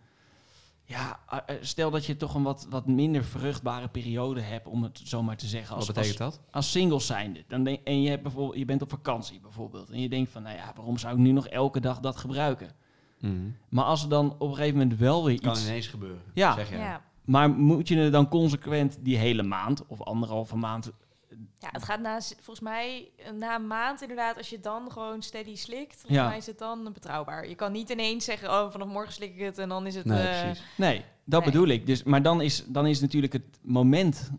Speaker 2: Ja, eh, eh, stel dat je toch een wat, wat minder vruchtbare periode hebt, om het zo maar te zeggen.
Speaker 3: Wat
Speaker 2: Als,
Speaker 3: betekent
Speaker 2: als,
Speaker 3: dat?
Speaker 2: als single zijnde. Dan denk, en je, hebt bijvoorbeeld, je bent op vakantie bijvoorbeeld. En je denkt van, nou ja, waarom zou ik nu nog elke dag dat gebruiken?
Speaker 3: Mhm.
Speaker 2: Maar als er dan op een gegeven moment wel weer
Speaker 3: Kan
Speaker 2: iets...
Speaker 3: ineens gebeuren.
Speaker 2: Ja.
Speaker 3: Zeg
Speaker 4: Ja.
Speaker 3: jij.
Speaker 4: Ja.
Speaker 2: Maar moet je er dan consequent die hele maand of anderhalve maand...
Speaker 4: het gaat na, z- volgens mij eh, na een maand inderdaad, als je dan gewoon steady slikt, volgens
Speaker 2: Ja.
Speaker 4: mij is het dan betrouwbaar. Je kan niet ineens zeggen, oh, vanaf morgen slik ik het en dan is het...
Speaker 3: Nee,
Speaker 4: eh,
Speaker 3: precies.
Speaker 2: Nee, dat
Speaker 4: Nee.
Speaker 2: bedoel ik. Dus, maar dan is, dan is natuurlijk het moment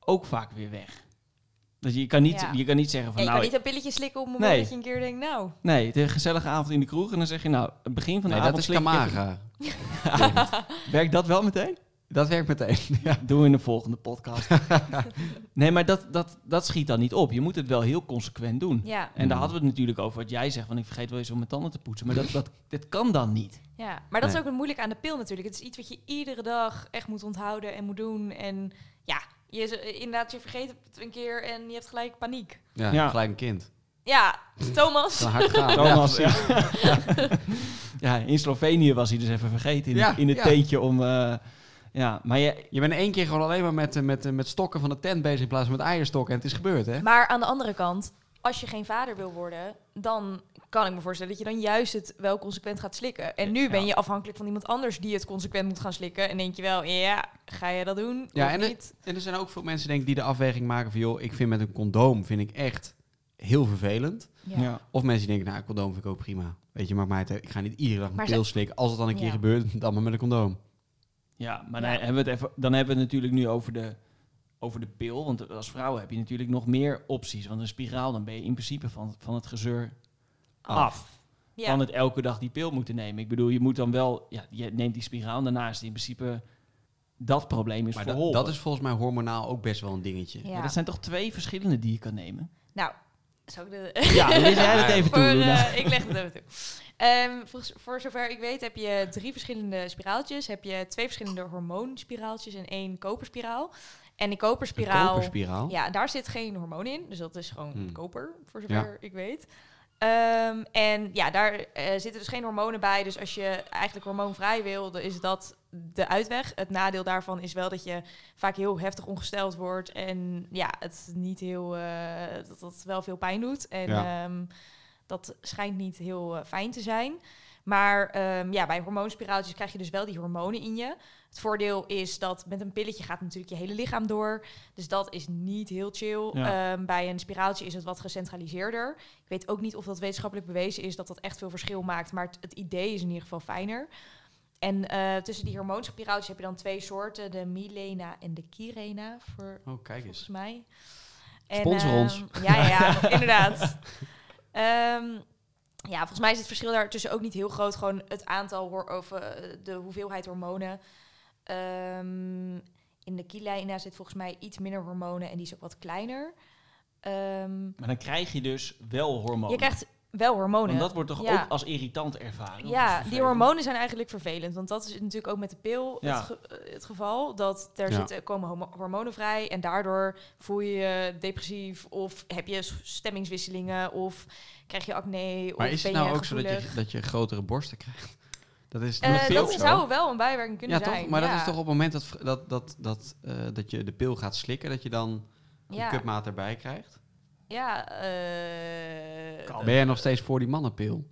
Speaker 2: ook vaak weer weg. Dus je kan niet,
Speaker 4: Ja.
Speaker 2: je kan niet zeggen
Speaker 4: ja,
Speaker 2: van
Speaker 4: je
Speaker 2: nou...
Speaker 4: kan niet een pilletje slikken op het moment
Speaker 2: Nee.
Speaker 4: dat je een keer denkt, nou...
Speaker 2: ik- nee, het is een gezellige avond in de kroeg en dan zeg je nou, het begin van de
Speaker 3: Nee, dat
Speaker 2: avond...
Speaker 3: is
Speaker 2: slik ik even-
Speaker 3: Kamaga.
Speaker 2: Werkt dat wel meteen?
Speaker 3: Dat werkt meteen. Ja.
Speaker 2: Doen we in de volgende podcast. nee, maar dat, dat, dat schiet dan niet op. Je moet het wel heel consequent doen.
Speaker 4: Ja,
Speaker 2: En daar
Speaker 3: Mm.
Speaker 2: hadden we het natuurlijk over wat jij zegt, want ik vergeet wel eens om mijn tanden te poetsen. Maar dat, dat, dat kan dan niet.
Speaker 4: ja. maar dat
Speaker 3: Nee.
Speaker 4: is ook het moeilijk aan de pil natuurlijk. Het is iets wat je iedere dag echt moet onthouden en moet doen. En ja, je, z- inderdaad, je vergeet het een keer en je hebt gelijk paniek.
Speaker 3: Ja,
Speaker 2: Ja.
Speaker 3: gelijk een kind.
Speaker 4: Ja, Thomas.
Speaker 3: Kan hard gaan.
Speaker 2: Thomas, ja. Ja, in Slovenië was hij dus even vergeten in,
Speaker 3: Ja,
Speaker 2: in het
Speaker 3: ja.
Speaker 2: teentje om... eh, ja, maar je,
Speaker 3: Je bent één keer gewoon alleen maar met, eh, met, eh, met stokken van de tent bezig in plaats van met eierstokken. En het is gebeurd, hè?
Speaker 4: Maar aan de andere kant, als je geen vader wil worden, dan kan ik me voorstellen dat je dan juist het wel consequent gaat slikken. En nu ben
Speaker 2: Ja.
Speaker 4: je afhankelijk van iemand anders die het consequent moet gaan slikken. En denk je wel, ja, ga je dat doen
Speaker 3: Ja,
Speaker 4: of
Speaker 3: en het-
Speaker 4: niet?
Speaker 3: En er zijn ook veel mensen denk ik, die de afweging maken van... joh, ik vind met een condoom vind ik echt heel vervelend.
Speaker 2: ja.
Speaker 3: Of mensen die denken, nou, een condoom vind ik ook prima. Weet je, maakt mij het... Ik ga niet iedere dag een
Speaker 4: Maar
Speaker 3: pil slikken. Als het dan een keer
Speaker 4: Ja.
Speaker 3: gebeurt, dan maar met een condoom.
Speaker 2: Ja, maar
Speaker 4: Ja.
Speaker 2: Dan, hebben we het even, dan hebben we het natuurlijk nu over de, over de pil. Want als vrouw heb je natuurlijk nog meer opties. Want een spiraal, dan ben je in principe van, van het gezeur af.
Speaker 4: Ja.
Speaker 2: Van het elke dag die pil moeten nemen. Ik bedoel, je moet dan wel... Ja, je neemt die spiraal en daarna is het in principe... Dat probleem is
Speaker 3: Maar dat,
Speaker 2: verholpen.
Speaker 3: dat is volgens mij hormonaal ook best wel een dingetje.
Speaker 4: Ja.
Speaker 2: Ja, dat zijn toch twee verschillende die je kan nemen?
Speaker 4: Nou, zou ik de...
Speaker 2: Ja, dan leg jij het even toe,
Speaker 4: Voor,
Speaker 2: Luna.
Speaker 4: eh, ik leg het even toe. Ehm, voor, voor zover ik weet heb je drie verschillende spiraaltjes. Heb je twee verschillende hormoonspiraaltjes en één koperspiraal. En die
Speaker 3: Een
Speaker 4: koperspiraal...
Speaker 3: koperspiraal.
Speaker 4: Ja, daar zit geen hormoon in. Dus dat is gewoon
Speaker 3: Hmm.
Speaker 4: koper, voor zover ik weet. Ehm, en ja, daar eh, zitten dus geen hormonen bij. Dus als je eigenlijk hormoonvrij wil, dan is dat de uitweg. Het nadeel daarvan is wel dat je vaak heel heftig ongesteld wordt. En ja, het niet heel, eh, dat dat wel veel pijn doet. En
Speaker 3: Ja.
Speaker 4: ehm, dat schijnt niet heel eh, fijn te zijn. Maar ehm, ja, bij hormoonspiraaltjes krijg je dus wel die hormonen in je. Het voordeel is dat met een pilletje gaat natuurlijk je hele lichaam door. Dus dat is niet heel chill.
Speaker 2: Ja.
Speaker 4: Ehm, bij een spiraaltje is het wat gecentraliseerder. Ik weet ook niet of dat wetenschappelijk bewezen is dat dat echt veel verschil maakt. Maar het, het idee is in ieder geval fijner. En eh, tussen die hormonische piraatjes heb je dan twee soorten, de Milena en de Kirena, voor,
Speaker 3: Oh, kijk eens.
Speaker 4: volgens mij.
Speaker 3: Sponsor
Speaker 4: ehm,
Speaker 3: ons.
Speaker 4: Ja, ja, ja, inderdaad. Ehm, ja, volgens mij is het verschil daartussen ook niet heel groot. Gewoon het aantal, hoor, of eh, de hoeveelheid hormonen. Ehm, in de Kirena zit volgens mij iets minder hormonen en die is ook wat kleiner. Ehm,
Speaker 2: Maar dan krijg je dus wel hormonen.
Speaker 4: je krijgt wel hormonen.
Speaker 2: Want dat wordt toch
Speaker 4: Oh, Ja.
Speaker 2: ook als irritant ervaren? of als
Speaker 4: Ja, die
Speaker 2: vervelend?
Speaker 4: hormonen zijn eigenlijk vervelend. Want dat is natuurlijk ook met de pil
Speaker 2: Ja.
Speaker 4: het, ge- eh, het geval. Dat er
Speaker 3: Ja.
Speaker 4: zitten, komen homo- hormonen vrij. En daardoor voel je je depressief. Of heb je s- stemmingswisselingen. Of krijg je acne.
Speaker 3: Maar
Speaker 4: of
Speaker 3: is
Speaker 4: ben
Speaker 3: het nou ook zo dat
Speaker 4: gevoelig.
Speaker 3: je, dat je grotere borsten krijgt? Dat is
Speaker 4: Eh,
Speaker 3: met veel
Speaker 4: dat
Speaker 3: zo.
Speaker 4: zou wel een bijwerking kunnen
Speaker 3: ja,
Speaker 4: zijn.
Speaker 3: toch? Maar
Speaker 4: ja.
Speaker 3: dat is toch op het moment dat, v- dat, dat, dat, eh, dat je de pil gaat slikken, dat je dan een
Speaker 4: Ja,
Speaker 3: cupmaat erbij krijgt?
Speaker 4: ja eh,
Speaker 2: Kan.
Speaker 3: Ben jij nog steeds voor die mannenpil?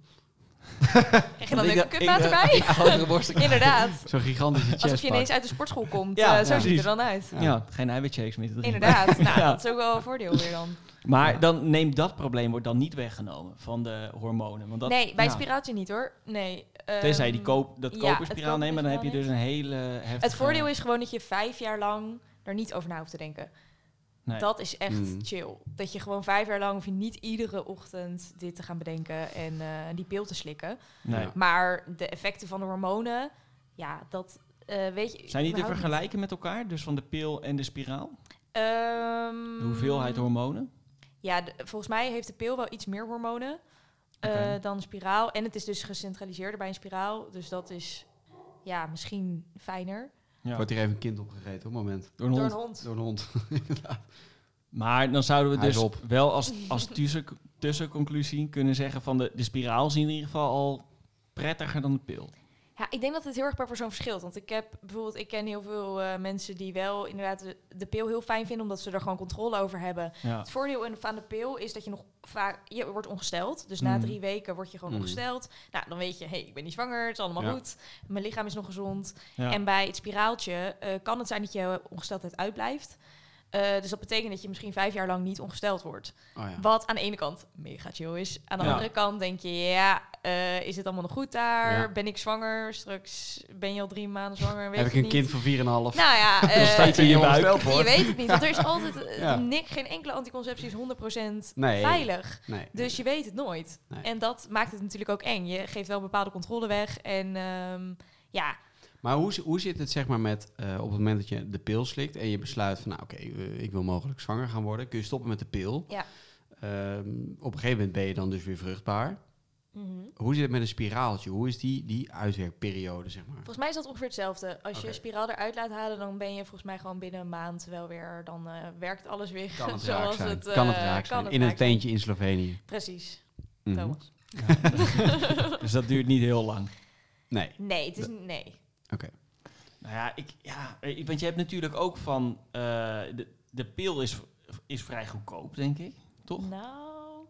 Speaker 4: krijg je dan
Speaker 3: Ik
Speaker 4: een
Speaker 3: dacht-
Speaker 4: kutmaat
Speaker 3: ik-
Speaker 4: erbij?
Speaker 3: ik- grotere borsten krijgt.
Speaker 4: Inderdaad.
Speaker 3: Zo'n gigantische
Speaker 4: Alsof je
Speaker 3: chestpak.
Speaker 4: ineens uit de sportschool komt.
Speaker 2: Ja,
Speaker 4: Eh, zo
Speaker 3: ja.
Speaker 4: ziet het er dan uit.
Speaker 2: Ja. geen eiwitshakes meer te drinken.
Speaker 4: Inderdaad. Nou,
Speaker 2: Ja.
Speaker 4: dat is ook wel een voordeel weer dan.
Speaker 2: Maar dan neemt dat probleem wordt dan niet weggenomen van de hormonen. Want dat,
Speaker 4: nee, bij
Speaker 2: ja.
Speaker 4: spiraaltje niet hoor. Nee.
Speaker 2: Tenzij die
Speaker 4: ehm,
Speaker 2: koop, dat
Speaker 4: ja, het
Speaker 2: koperspiraal nemen, dan heb je
Speaker 4: koperspiraal
Speaker 2: dus een hele heftige...
Speaker 4: Het voordeel is gewoon dat je vijf jaar lang er niet over na hoeft te denken.
Speaker 2: Nee.
Speaker 4: Dat is echt
Speaker 3: Mm.
Speaker 4: chill. Dat je gewoon vijf jaar lang hoef je niet iedere ochtend dit te gaan bedenken en eh, die pil te slikken.
Speaker 2: Nee.
Speaker 3: Ja.
Speaker 4: Maar de effecten van de hormonen, ja, dat eh, weet je.
Speaker 2: Zijn die te
Speaker 4: überhaupt
Speaker 2: vergelijken met elkaar? Dus van de pil en de spiraal?
Speaker 4: niet. Ehm,
Speaker 2: De hoeveelheid hormonen?
Speaker 4: Ja, de- volgens mij heeft de pil wel iets meer hormonen eh,
Speaker 2: Oké.
Speaker 4: dan de spiraal. En het is dus gecentraliseerder bij een spiraal. Dus dat is ja, misschien fijner.
Speaker 2: Ja.
Speaker 3: Wordt hier even een kind opgegeten op het moment.
Speaker 2: Door een
Speaker 4: Door
Speaker 2: hond.
Speaker 4: een hond.
Speaker 3: Door een hond. Oh
Speaker 2: Maar dan zouden we
Speaker 3: Hij is
Speaker 2: dus
Speaker 3: op.
Speaker 2: wel als, als tussen, tussenconclusie kunnen zeggen van de, de spiraal is in ieder geval al prettiger dan de pil.
Speaker 4: Ja, ik denk dat het heel erg per persoon verschilt. Want ik heb bijvoorbeeld, ik ken heel veel eh, mensen die wel inderdaad de, de pil heel fijn vinden, omdat ze er gewoon controle over hebben.
Speaker 2: Ja.
Speaker 4: Het voordeel in- van de pil is dat je nog vaak, je wordt ongesteld. Dus na
Speaker 2: Mm.
Speaker 4: drie weken word je gewoon
Speaker 3: Mm.
Speaker 4: ongesteld. Nou, dan weet je, hé, hey, ik ben niet zwanger, het is allemaal
Speaker 3: Ja.
Speaker 4: goed. Mijn lichaam is nog gezond.
Speaker 2: Ja.
Speaker 4: En bij het spiraaltje eh, kan het zijn dat je ongesteldheid uitblijft. Eh, dus dat betekent dat je misschien vijf jaar lang niet ongesteld wordt.
Speaker 3: Oh ja.
Speaker 4: Wat aan de ene kant mega chill is. Aan de
Speaker 2: Ja.
Speaker 4: andere kant denk je, ja, eh, is het allemaal nog goed daar?
Speaker 3: Ja.
Speaker 4: Ben ik zwanger? Straks ben je al drie maanden zwanger? Weet
Speaker 3: Heb ik
Speaker 4: het
Speaker 3: een
Speaker 4: niet.
Speaker 3: kind van 4,5?
Speaker 4: Nou ja, eh,
Speaker 2: steeds in je buik.
Speaker 4: je weet het niet. Want er is altijd eh,
Speaker 3: Ja.
Speaker 4: nik- geen enkele anticonceptie is 100%
Speaker 3: Nee.
Speaker 4: veilig.
Speaker 3: Nee.
Speaker 4: Dus je weet het nooit.
Speaker 3: Nee.
Speaker 4: En dat maakt het natuurlijk ook eng. Je geeft wel bepaalde controle weg. En ehm, ja,
Speaker 3: Maar hoe, zi- hoe zit het zeg maar met eh, op het moment dat je de pil slikt en je besluit van nou oké, eh, ik wil mogelijk zwanger gaan worden, kun je stoppen met de pil.
Speaker 4: Ja.
Speaker 3: Ehm, op een gegeven moment ben je dan dus weer vruchtbaar.
Speaker 4: Mhm.
Speaker 3: Hoe zit het met een spiraaltje? Hoe is die, die uitwerkperiode zeg maar?
Speaker 4: volgens mij is dat ongeveer hetzelfde. Als je
Speaker 3: Oké.
Speaker 4: spiraal eruit laat halen, dan ben je volgens mij gewoon binnen een maand wel weer... Dan eh, werkt alles weer
Speaker 3: Kan het
Speaker 4: zoals
Speaker 3: raak zijn?
Speaker 4: het...
Speaker 3: kan het
Speaker 4: eh,
Speaker 3: raak zijn?
Speaker 4: het
Speaker 3: in
Speaker 4: raak
Speaker 3: een teentje in Slovenië.
Speaker 4: Precies,
Speaker 3: Mhm.
Speaker 4: Thomas.
Speaker 2: Dus dat duurt niet heel lang.
Speaker 3: Nee.
Speaker 4: Nee, het is niet- nee.
Speaker 3: Oké.
Speaker 2: Nou ja, ik, ja eh, want je hebt natuurlijk ook van... eh, de, de pil is, is vrij goedkoop, denk ik.
Speaker 3: Oh.
Speaker 2: Toch?
Speaker 4: Nou.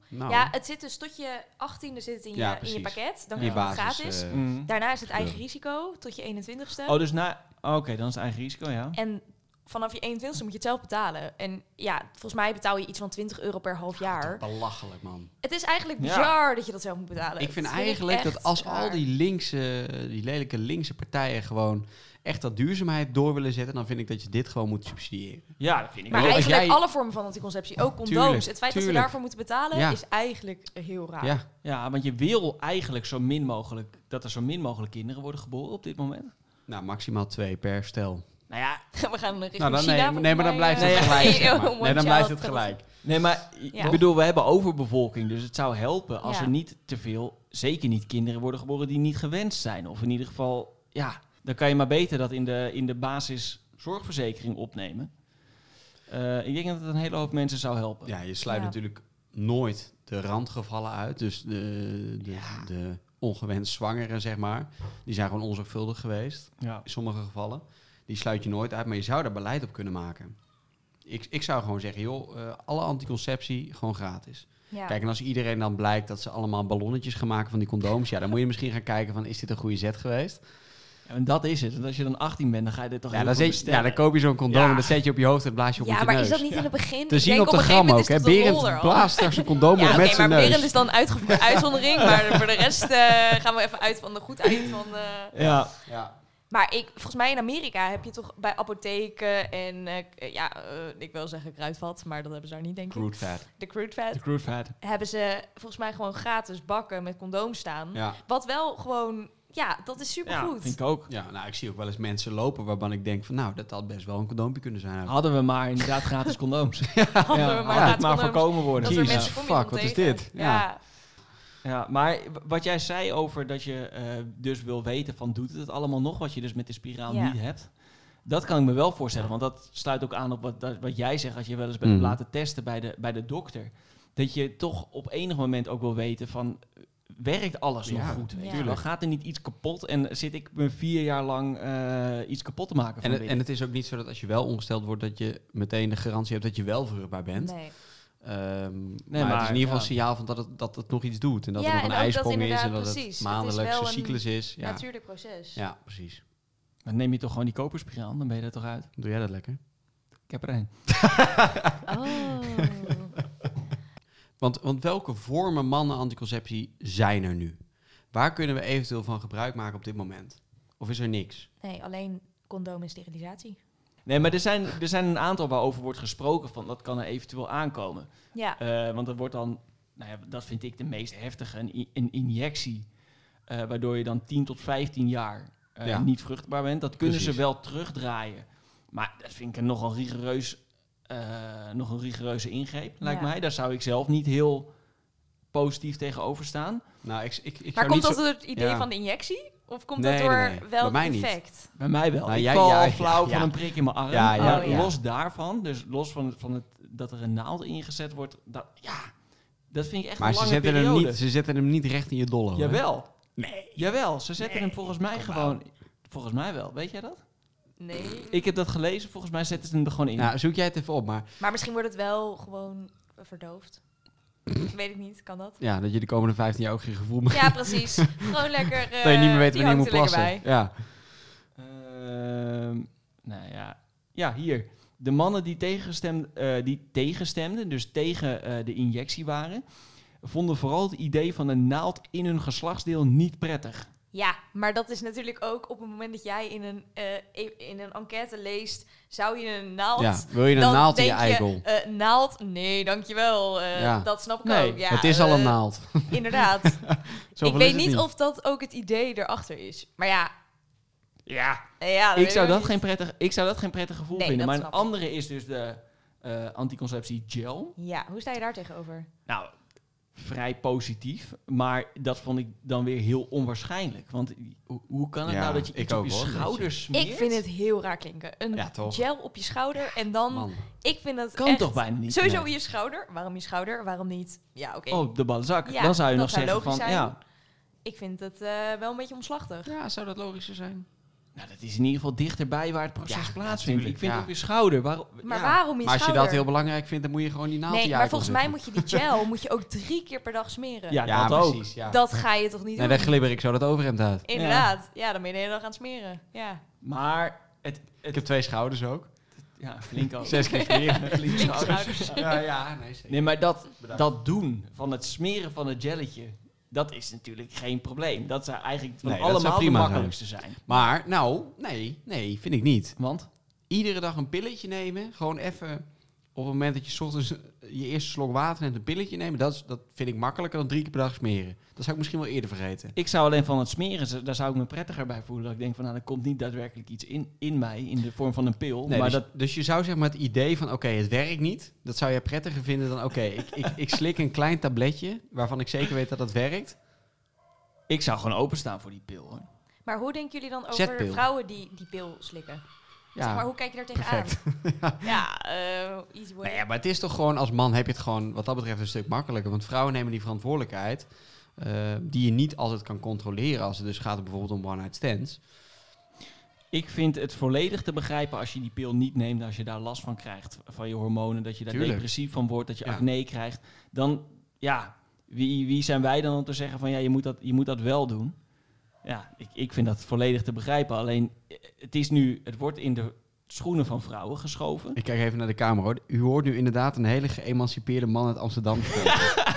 Speaker 3: Nou,
Speaker 4: Ja, het zit dus tot je 18e zit het in,
Speaker 3: Ja,
Speaker 4: je, in
Speaker 3: precies.
Speaker 4: je pakket. Dan
Speaker 3: je
Speaker 4: krijg je het dus,
Speaker 3: basis,
Speaker 4: gratis.
Speaker 3: eh,
Speaker 2: Mm.
Speaker 4: Daarna is het eigen
Speaker 3: Ja.
Speaker 4: risico tot je 21ste.
Speaker 2: Oh, dus na... Oké, dan is het eigen risico, ja.
Speaker 4: En vanaf je 21ste moet je het zelf betalen. En ja, volgens mij betaal je iets van 20 euro per half jaar.
Speaker 3: belachelijk man.
Speaker 4: Het is eigenlijk
Speaker 2: Ja.
Speaker 4: bizar dat je dat zelf moet betalen.
Speaker 3: Ik vind
Speaker 4: Dat
Speaker 3: eigenlijk
Speaker 4: echt
Speaker 3: dat als al
Speaker 4: raar.
Speaker 3: die linkse, die lelijke linkse partijen gewoon echt dat duurzaamheid door willen zetten, dan vind ik dat je dit gewoon moet subsidiëren.
Speaker 2: Ja, dat vind ik
Speaker 4: Maar
Speaker 2: wel.
Speaker 3: als
Speaker 4: eigenlijk
Speaker 3: jij-
Speaker 4: alle vormen van anticonceptie, ook condooms.
Speaker 3: Tuurlijk,
Speaker 4: het feit dat
Speaker 3: tuurlijk.
Speaker 4: ze daarvoor moeten betalen
Speaker 3: Ja.
Speaker 4: is eigenlijk heel raar.
Speaker 3: Ja,
Speaker 2: Ja, want je wil eigenlijk zo min mogelijk... dat er zo min mogelijk kinderen worden geboren op dit moment.
Speaker 3: nou maximaal twee per stel.
Speaker 4: Dus
Speaker 2: Nou ja,
Speaker 4: We gaan richting
Speaker 3: Nou, dan,
Speaker 4: China.
Speaker 3: nee, nee,
Speaker 4: volgens
Speaker 3: maar dan
Speaker 4: mij,
Speaker 3: blijft
Speaker 4: eh,
Speaker 3: het gelijk. zeg maar.
Speaker 4: heel mooi
Speaker 3: Nee, dan blijft het
Speaker 4: child.
Speaker 3: gelijk.
Speaker 2: Nee, maar i-
Speaker 4: Ja.
Speaker 2: ik bedoel, we hebben overbevolking, dus het zou helpen als
Speaker 4: Ja.
Speaker 2: er niet te veel, zeker niet kinderen worden geboren die niet gewenst zijn. Of in ieder geval, ja, dan kan je maar beter dat in de, in de basis zorgverzekering opnemen. Eh, ik denk dat het een hele hoop mensen zou helpen.
Speaker 3: Ja, je sluit
Speaker 4: Ja.
Speaker 3: natuurlijk nooit de randgevallen uit. Dus de, de,
Speaker 2: Ja.
Speaker 3: de ongewenst zwangeren, zeg maar. Die zijn gewoon onzorgvuldig geweest.
Speaker 2: Ja.
Speaker 3: In sommige gevallen. Die sluit je nooit uit, maar je zou daar beleid op kunnen maken. Ik, ik zou gewoon zeggen, joh, eh, alle anticonceptie gewoon gratis.
Speaker 4: Ja.
Speaker 3: Kijk, en als iedereen dan blijkt dat ze allemaal ballonnetjes gaan maken van die condooms... ja, dan moet je misschien gaan kijken van, is dit een goede zet geweest?
Speaker 2: Ja, en dat is het. Want als je dan 18 bent, dan ga je dit toch
Speaker 3: Ja,
Speaker 2: heel
Speaker 3: dan,
Speaker 2: veel
Speaker 3: zet je, ja,
Speaker 2: bestellen.
Speaker 3: dan koop je zo'n condoom
Speaker 2: Ja.
Speaker 3: en dat zet je op je hoofd en dat blaas je op met
Speaker 4: Ja,
Speaker 3: je
Speaker 4: maar
Speaker 3: neus.
Speaker 4: is dat niet in het begin?
Speaker 3: Te
Speaker 4: Ik
Speaker 3: zien
Speaker 4: denk
Speaker 3: op de
Speaker 4: een gegeven
Speaker 3: gram ook,
Speaker 4: moment
Speaker 3: hè?
Speaker 4: is toch de rol
Speaker 3: Berend
Speaker 4: er al.
Speaker 3: blaast straks een condoom op
Speaker 4: Ja, oké,
Speaker 3: met zijn
Speaker 4: maar Berend
Speaker 3: neus.
Speaker 4: is dan uitge- voor uitzondering. Maar voor de rest eh, gaan we even uit van de goedheid van... eh,
Speaker 2: Ja,
Speaker 3: Ja.
Speaker 4: Maar ik, volgens mij in Amerika heb je toch bij apotheken en eh, k- eh, ja, eh, ik wil zeggen kruidvat, maar dat hebben ze daar niet, denk ik.
Speaker 3: Crude fat.
Speaker 4: De crude vat
Speaker 2: de crude fat.
Speaker 4: hebben ze volgens mij gewoon gratis bakken met condoom staan.
Speaker 3: Ja.
Speaker 4: Wat wel gewoon, ja, dat is
Speaker 2: Ja,
Speaker 4: supergoed.
Speaker 2: vind ik ook.
Speaker 3: ja, nou, ik zie ook wel eens mensen lopen waarvan ik denk van... nou, dat had best wel een condoompje kunnen zijn.
Speaker 2: Hadden we maar inderdaad gratis condooms.
Speaker 4: Hadden we
Speaker 2: Ja,
Speaker 4: maar
Speaker 2: had
Speaker 4: gratis
Speaker 2: het maar
Speaker 4: condooms.
Speaker 2: voorkomen worden.
Speaker 4: Dat er
Speaker 3: Jezus,
Speaker 4: mensen kom je
Speaker 3: fuck,
Speaker 4: dan
Speaker 3: wat is
Speaker 4: tegen.
Speaker 3: dit?
Speaker 4: Ja.
Speaker 3: Ja.
Speaker 2: Ja, maar w- wat jij zei over dat je eh, dus wil weten van doet het het allemaal nog wat je dus met de spiraal
Speaker 4: Ja.
Speaker 2: niet hebt. Dat kan ik me wel voorstellen, want dat sluit ook aan op wat, dat- wat jij zegt als je wel eens bent
Speaker 3: Mhm.
Speaker 2: laten testen bij de, bij de dokter. Dat je toch op enig moment ook wil weten van eh, werkt alles nog
Speaker 3: Ja,
Speaker 2: goed? Weet je
Speaker 4: tuurlijk.
Speaker 2: wel? Gaat er niet iets kapot en zit ik me vier jaar lang eh, iets kapot te maken van
Speaker 3: En het,
Speaker 2: binnen?
Speaker 3: en het is ook niet zo dat als je wel ongesteld wordt... dat je meteen de garantie hebt dat je wel vruchtbaar bent.
Speaker 4: Nee.
Speaker 3: Ehm, maar, het
Speaker 2: maar,
Speaker 3: is in ieder geval
Speaker 2: ja.
Speaker 3: een signaal van dat, het, dat het nog iets doet. En dat
Speaker 4: Ja,
Speaker 3: er nog
Speaker 4: en
Speaker 3: een
Speaker 4: ook dat
Speaker 3: ijsprong is en
Speaker 4: inderdaad,
Speaker 3: dat
Speaker 4: precies.
Speaker 3: het
Speaker 4: Het is
Speaker 3: maandelijkse
Speaker 4: wel een
Speaker 3: cyclus is. Ja.
Speaker 4: Natuurlijk proces.
Speaker 3: ja, precies.
Speaker 2: Dan neem je toch gewoon die koperspiraal, dan ben je er toch uit.
Speaker 3: Doe jij dat lekker?
Speaker 2: Ik heb er één.
Speaker 4: Oh.
Speaker 3: Want, want welke vormen mannen anticonceptie zijn er nu? Waar kunnen we eventueel van gebruik maken op dit moment? Of is er niks?
Speaker 4: Nee, alleen condoom en sterilisatie.
Speaker 2: Nee, maar er zijn, er zijn een aantal waarover wordt gesproken van dat kan er eventueel aankomen.
Speaker 4: Ja.
Speaker 2: Eh, want dat wordt dan, nou ja, dat vind ik de meest heftige, een, i- een injectie. eh, waardoor je dan 10 tot 15 jaar eh,
Speaker 3: Ja.
Speaker 2: niet vruchtbaar bent. Dat kunnen
Speaker 3: Precies.
Speaker 2: ze wel terugdraaien. Maar dat vind ik een nogal rigoureus, eh, nog een rigoureuze ingreep, lijkt
Speaker 4: Ja.
Speaker 2: mij. Daar zou ik zelf niet heel positief tegenover staan.
Speaker 3: Nou, ik, ik, ik
Speaker 4: maar
Speaker 3: zou
Speaker 4: komt
Speaker 3: niet
Speaker 4: dat
Speaker 3: zo...
Speaker 4: door het idee
Speaker 3: ja.
Speaker 4: van de injectie? Of komt
Speaker 3: Nee,
Speaker 4: dat
Speaker 3: nee,
Speaker 4: door
Speaker 3: nee.
Speaker 4: wel
Speaker 3: Bij mij niet.
Speaker 4: effect?
Speaker 2: Bij mij wel.
Speaker 3: Nou,
Speaker 2: ik
Speaker 3: jij-
Speaker 2: val
Speaker 3: ja,
Speaker 2: al
Speaker 3: ja,
Speaker 2: flauw
Speaker 3: ja.
Speaker 2: van een prik in mijn arm.
Speaker 3: Ja,
Speaker 4: ja,
Speaker 2: maar
Speaker 4: Oh, ja.
Speaker 2: los daarvan, dus los van, van het, dat er een naald ingezet wordt. Dat, ja, dat vind ik echt
Speaker 3: Maar
Speaker 2: een
Speaker 3: ze
Speaker 2: lange
Speaker 3: zetten, hem
Speaker 2: periode.
Speaker 3: niet, ze zetten hem niet recht in je dolle. hoor.
Speaker 2: Jawel.
Speaker 3: Nee.
Speaker 2: Jawel, ze zetten hem volgens mij
Speaker 3: kom
Speaker 2: gewoon... Volgens mij wel, weet jij dat?
Speaker 4: Nee.
Speaker 2: Ik heb dat gelezen, volgens mij zetten ze hem er gewoon in.
Speaker 3: Nou, zoek jij het even op. Maar
Speaker 4: Maar misschien wordt het wel gewoon verdoofd. Weet ik niet, kan dat?
Speaker 3: ja, dat je de komende 15 jaar ook geen gevoel meer...
Speaker 4: Ja, precies. gewoon lekker. eh
Speaker 3: dat je niet meer weet
Speaker 4: die
Speaker 3: wanneer je moet
Speaker 4: hangt er lekker
Speaker 3: plassen. Ja.
Speaker 2: Ehm, nou ja. ja, hier. De mannen die, tegenstem, eh, die tegenstemden, dus tegen eh, de injectie waren... vonden vooral het idee van een naald in hun geslachtsdeel niet prettig.
Speaker 4: Ja, maar dat is natuurlijk ook op het moment dat jij in een, eh, e- in een enquête leest, zou je een naald.
Speaker 3: ja. Wil je een
Speaker 4: dan
Speaker 3: naald in je
Speaker 4: denk
Speaker 3: eikel?
Speaker 4: eh, naald? Nee, dankjewel. Eh
Speaker 3: Ja.
Speaker 4: Dat snap ik
Speaker 2: Nee,
Speaker 4: ook. Ja,
Speaker 3: het is al een
Speaker 4: eh,
Speaker 3: naald.
Speaker 4: Inderdaad. ik
Speaker 3: Zoveel
Speaker 4: weet
Speaker 3: is het
Speaker 4: niet, of dat ook het idee erachter is. Maar ja,
Speaker 2: Ja,
Speaker 4: eh, ja
Speaker 2: ik zou,
Speaker 4: weet
Speaker 2: dat
Speaker 4: ook
Speaker 2: geen prettig, ik zou dat geen prettig gevoel
Speaker 4: Nee,
Speaker 2: vinden.
Speaker 4: dat
Speaker 2: Maar een
Speaker 4: snap ik.
Speaker 2: andere is dus de eh, anticonceptie gel.
Speaker 4: niet. Ja, hoe sta je daar tegenover?
Speaker 2: Nou, vrij positief. Maar dat vond ik dan weer heel onwaarschijnlijk. Want ho- hoe kan het
Speaker 3: Ja,
Speaker 2: nou dat je
Speaker 3: ik
Speaker 2: iets op
Speaker 3: ook
Speaker 2: je
Speaker 3: hoor, dat je-
Speaker 2: schouders smeert?
Speaker 4: Ik vind het heel raar klinken. Een
Speaker 3: Ja, toch?
Speaker 4: gel op je schouder en dan...
Speaker 3: Man.
Speaker 4: Ik vind dat
Speaker 2: Kan
Speaker 4: echt-
Speaker 2: toch bijna niet?
Speaker 4: Sowieso
Speaker 3: nee.
Speaker 4: je schouder. Waarom je schouder? Waarom niet? Ja, oké.
Speaker 2: Oh, de balzak.
Speaker 4: Ja,
Speaker 2: dan zou je
Speaker 4: dat
Speaker 2: nog
Speaker 4: zou
Speaker 2: zeggen van...
Speaker 4: logisch zijn.
Speaker 2: Ja,
Speaker 4: Ik vind het eh, wel een beetje omslachtig.
Speaker 3: Ja, zou dat logischer zijn?
Speaker 2: nou, dat is in ieder geval dichterbij waar het proces
Speaker 3: Ja,
Speaker 2: plaatsvindt.
Speaker 3: natuurlijk,
Speaker 2: Ik vind
Speaker 3: ja.
Speaker 2: het op je schouder. Waarom?
Speaker 4: Maar
Speaker 2: ja.
Speaker 4: waarom
Speaker 3: Maar
Speaker 4: je
Speaker 3: als je
Speaker 4: schouder?
Speaker 3: dat heel belangrijk vindt, dan moet je gewoon die naald in
Speaker 4: Nee,
Speaker 3: je
Speaker 4: maar
Speaker 3: eikel
Speaker 4: volgens mij
Speaker 3: zetten.
Speaker 4: moet je die gel moet je ook drie keer per dag smeren.
Speaker 2: Ja,
Speaker 3: Ja,
Speaker 2: dat ook.
Speaker 3: precies. Ja.
Speaker 4: Dat ga je toch niet
Speaker 3: Nee,
Speaker 4: doen?
Speaker 3: dan glibber ik zo dat overhemd uit.
Speaker 4: Inderdaad. Ja. dan ben je de hele dag aan het smeren. Ja.
Speaker 2: Maar het...
Speaker 3: Ik
Speaker 2: het
Speaker 3: heb twee schouders ook.
Speaker 2: ja, flink ook.
Speaker 3: Zes keer smeren.
Speaker 2: Flink schouders.
Speaker 3: Oh. ja, ja, nee, zeker.
Speaker 2: Nee, maar dat,
Speaker 3: Bedankt.
Speaker 2: dat doen van het smeren van het jelletje... Dat is natuurlijk geen probleem. Dat zou eigenlijk van
Speaker 3: Nee, dat zou
Speaker 2: allemaal de
Speaker 3: prima zijn.
Speaker 2: makkelijkste zijn.
Speaker 3: Maar, nou, nee, nee, vind ik niet.
Speaker 2: Want?
Speaker 3: Iedere dag een pilletje nemen, gewoon even op het moment dat je 's ochtends je eerste slok water neemt, een pilletje nemen, dat, is, dat vind ik makkelijker dan drie keer per dag smeren. Dat zou ik misschien wel eerder vergeten.
Speaker 2: Ik zou alleen van het smeren, z- daar zou ik me prettiger bij voelen. Dat ik denk van, nou, er komt niet daadwerkelijk iets in, in mij, in de vorm van een pil.
Speaker 3: Nee,
Speaker 2: maar
Speaker 3: dus,
Speaker 2: dat,
Speaker 3: dus je zou zeg maar het idee van, oké, het werkt niet, dat zou jij prettiger vinden dan, oké, ik, ik, ik slik een klein tabletje waarvan ik zeker weet dat dat werkt.
Speaker 2: ik zou gewoon openstaan voor die pil. Hoor.
Speaker 4: Maar hoe denken jullie dan over
Speaker 3: Zetpil.
Speaker 4: vrouwen die die pil slikken? Zeg maar,
Speaker 3: Ja,
Speaker 4: hoe kijk je daar tegenaan? ja, eh easy way.
Speaker 3: Nou ja, maar het is toch gewoon als man heb je het gewoon wat dat betreft een stuk makkelijker. Want vrouwen nemen die verantwoordelijkheid eh, die je niet altijd kan controleren als het dus gaat om bijvoorbeeld om one-night stands.
Speaker 2: Ik vind het volledig te begrijpen als je die pil niet neemt, als je daar last van krijgt, van je hormonen, dat je daar
Speaker 3: Tuurlijk.
Speaker 2: depressief van wordt, dat je
Speaker 3: Ja.
Speaker 2: acne krijgt. Dan, ja, wie, wie zijn wij dan om te zeggen van, ja, je moet dat, je moet dat wel doen? Ja, ik, ik vind dat volledig te begrijpen. Alleen, eh, het, is nu, het wordt in de schoenen van vrouwen geschoven.
Speaker 3: Ik kijk even naar de camera hoor. U hoort nu inderdaad een hele geëmancipeerde man uit Amsterdam. spreken.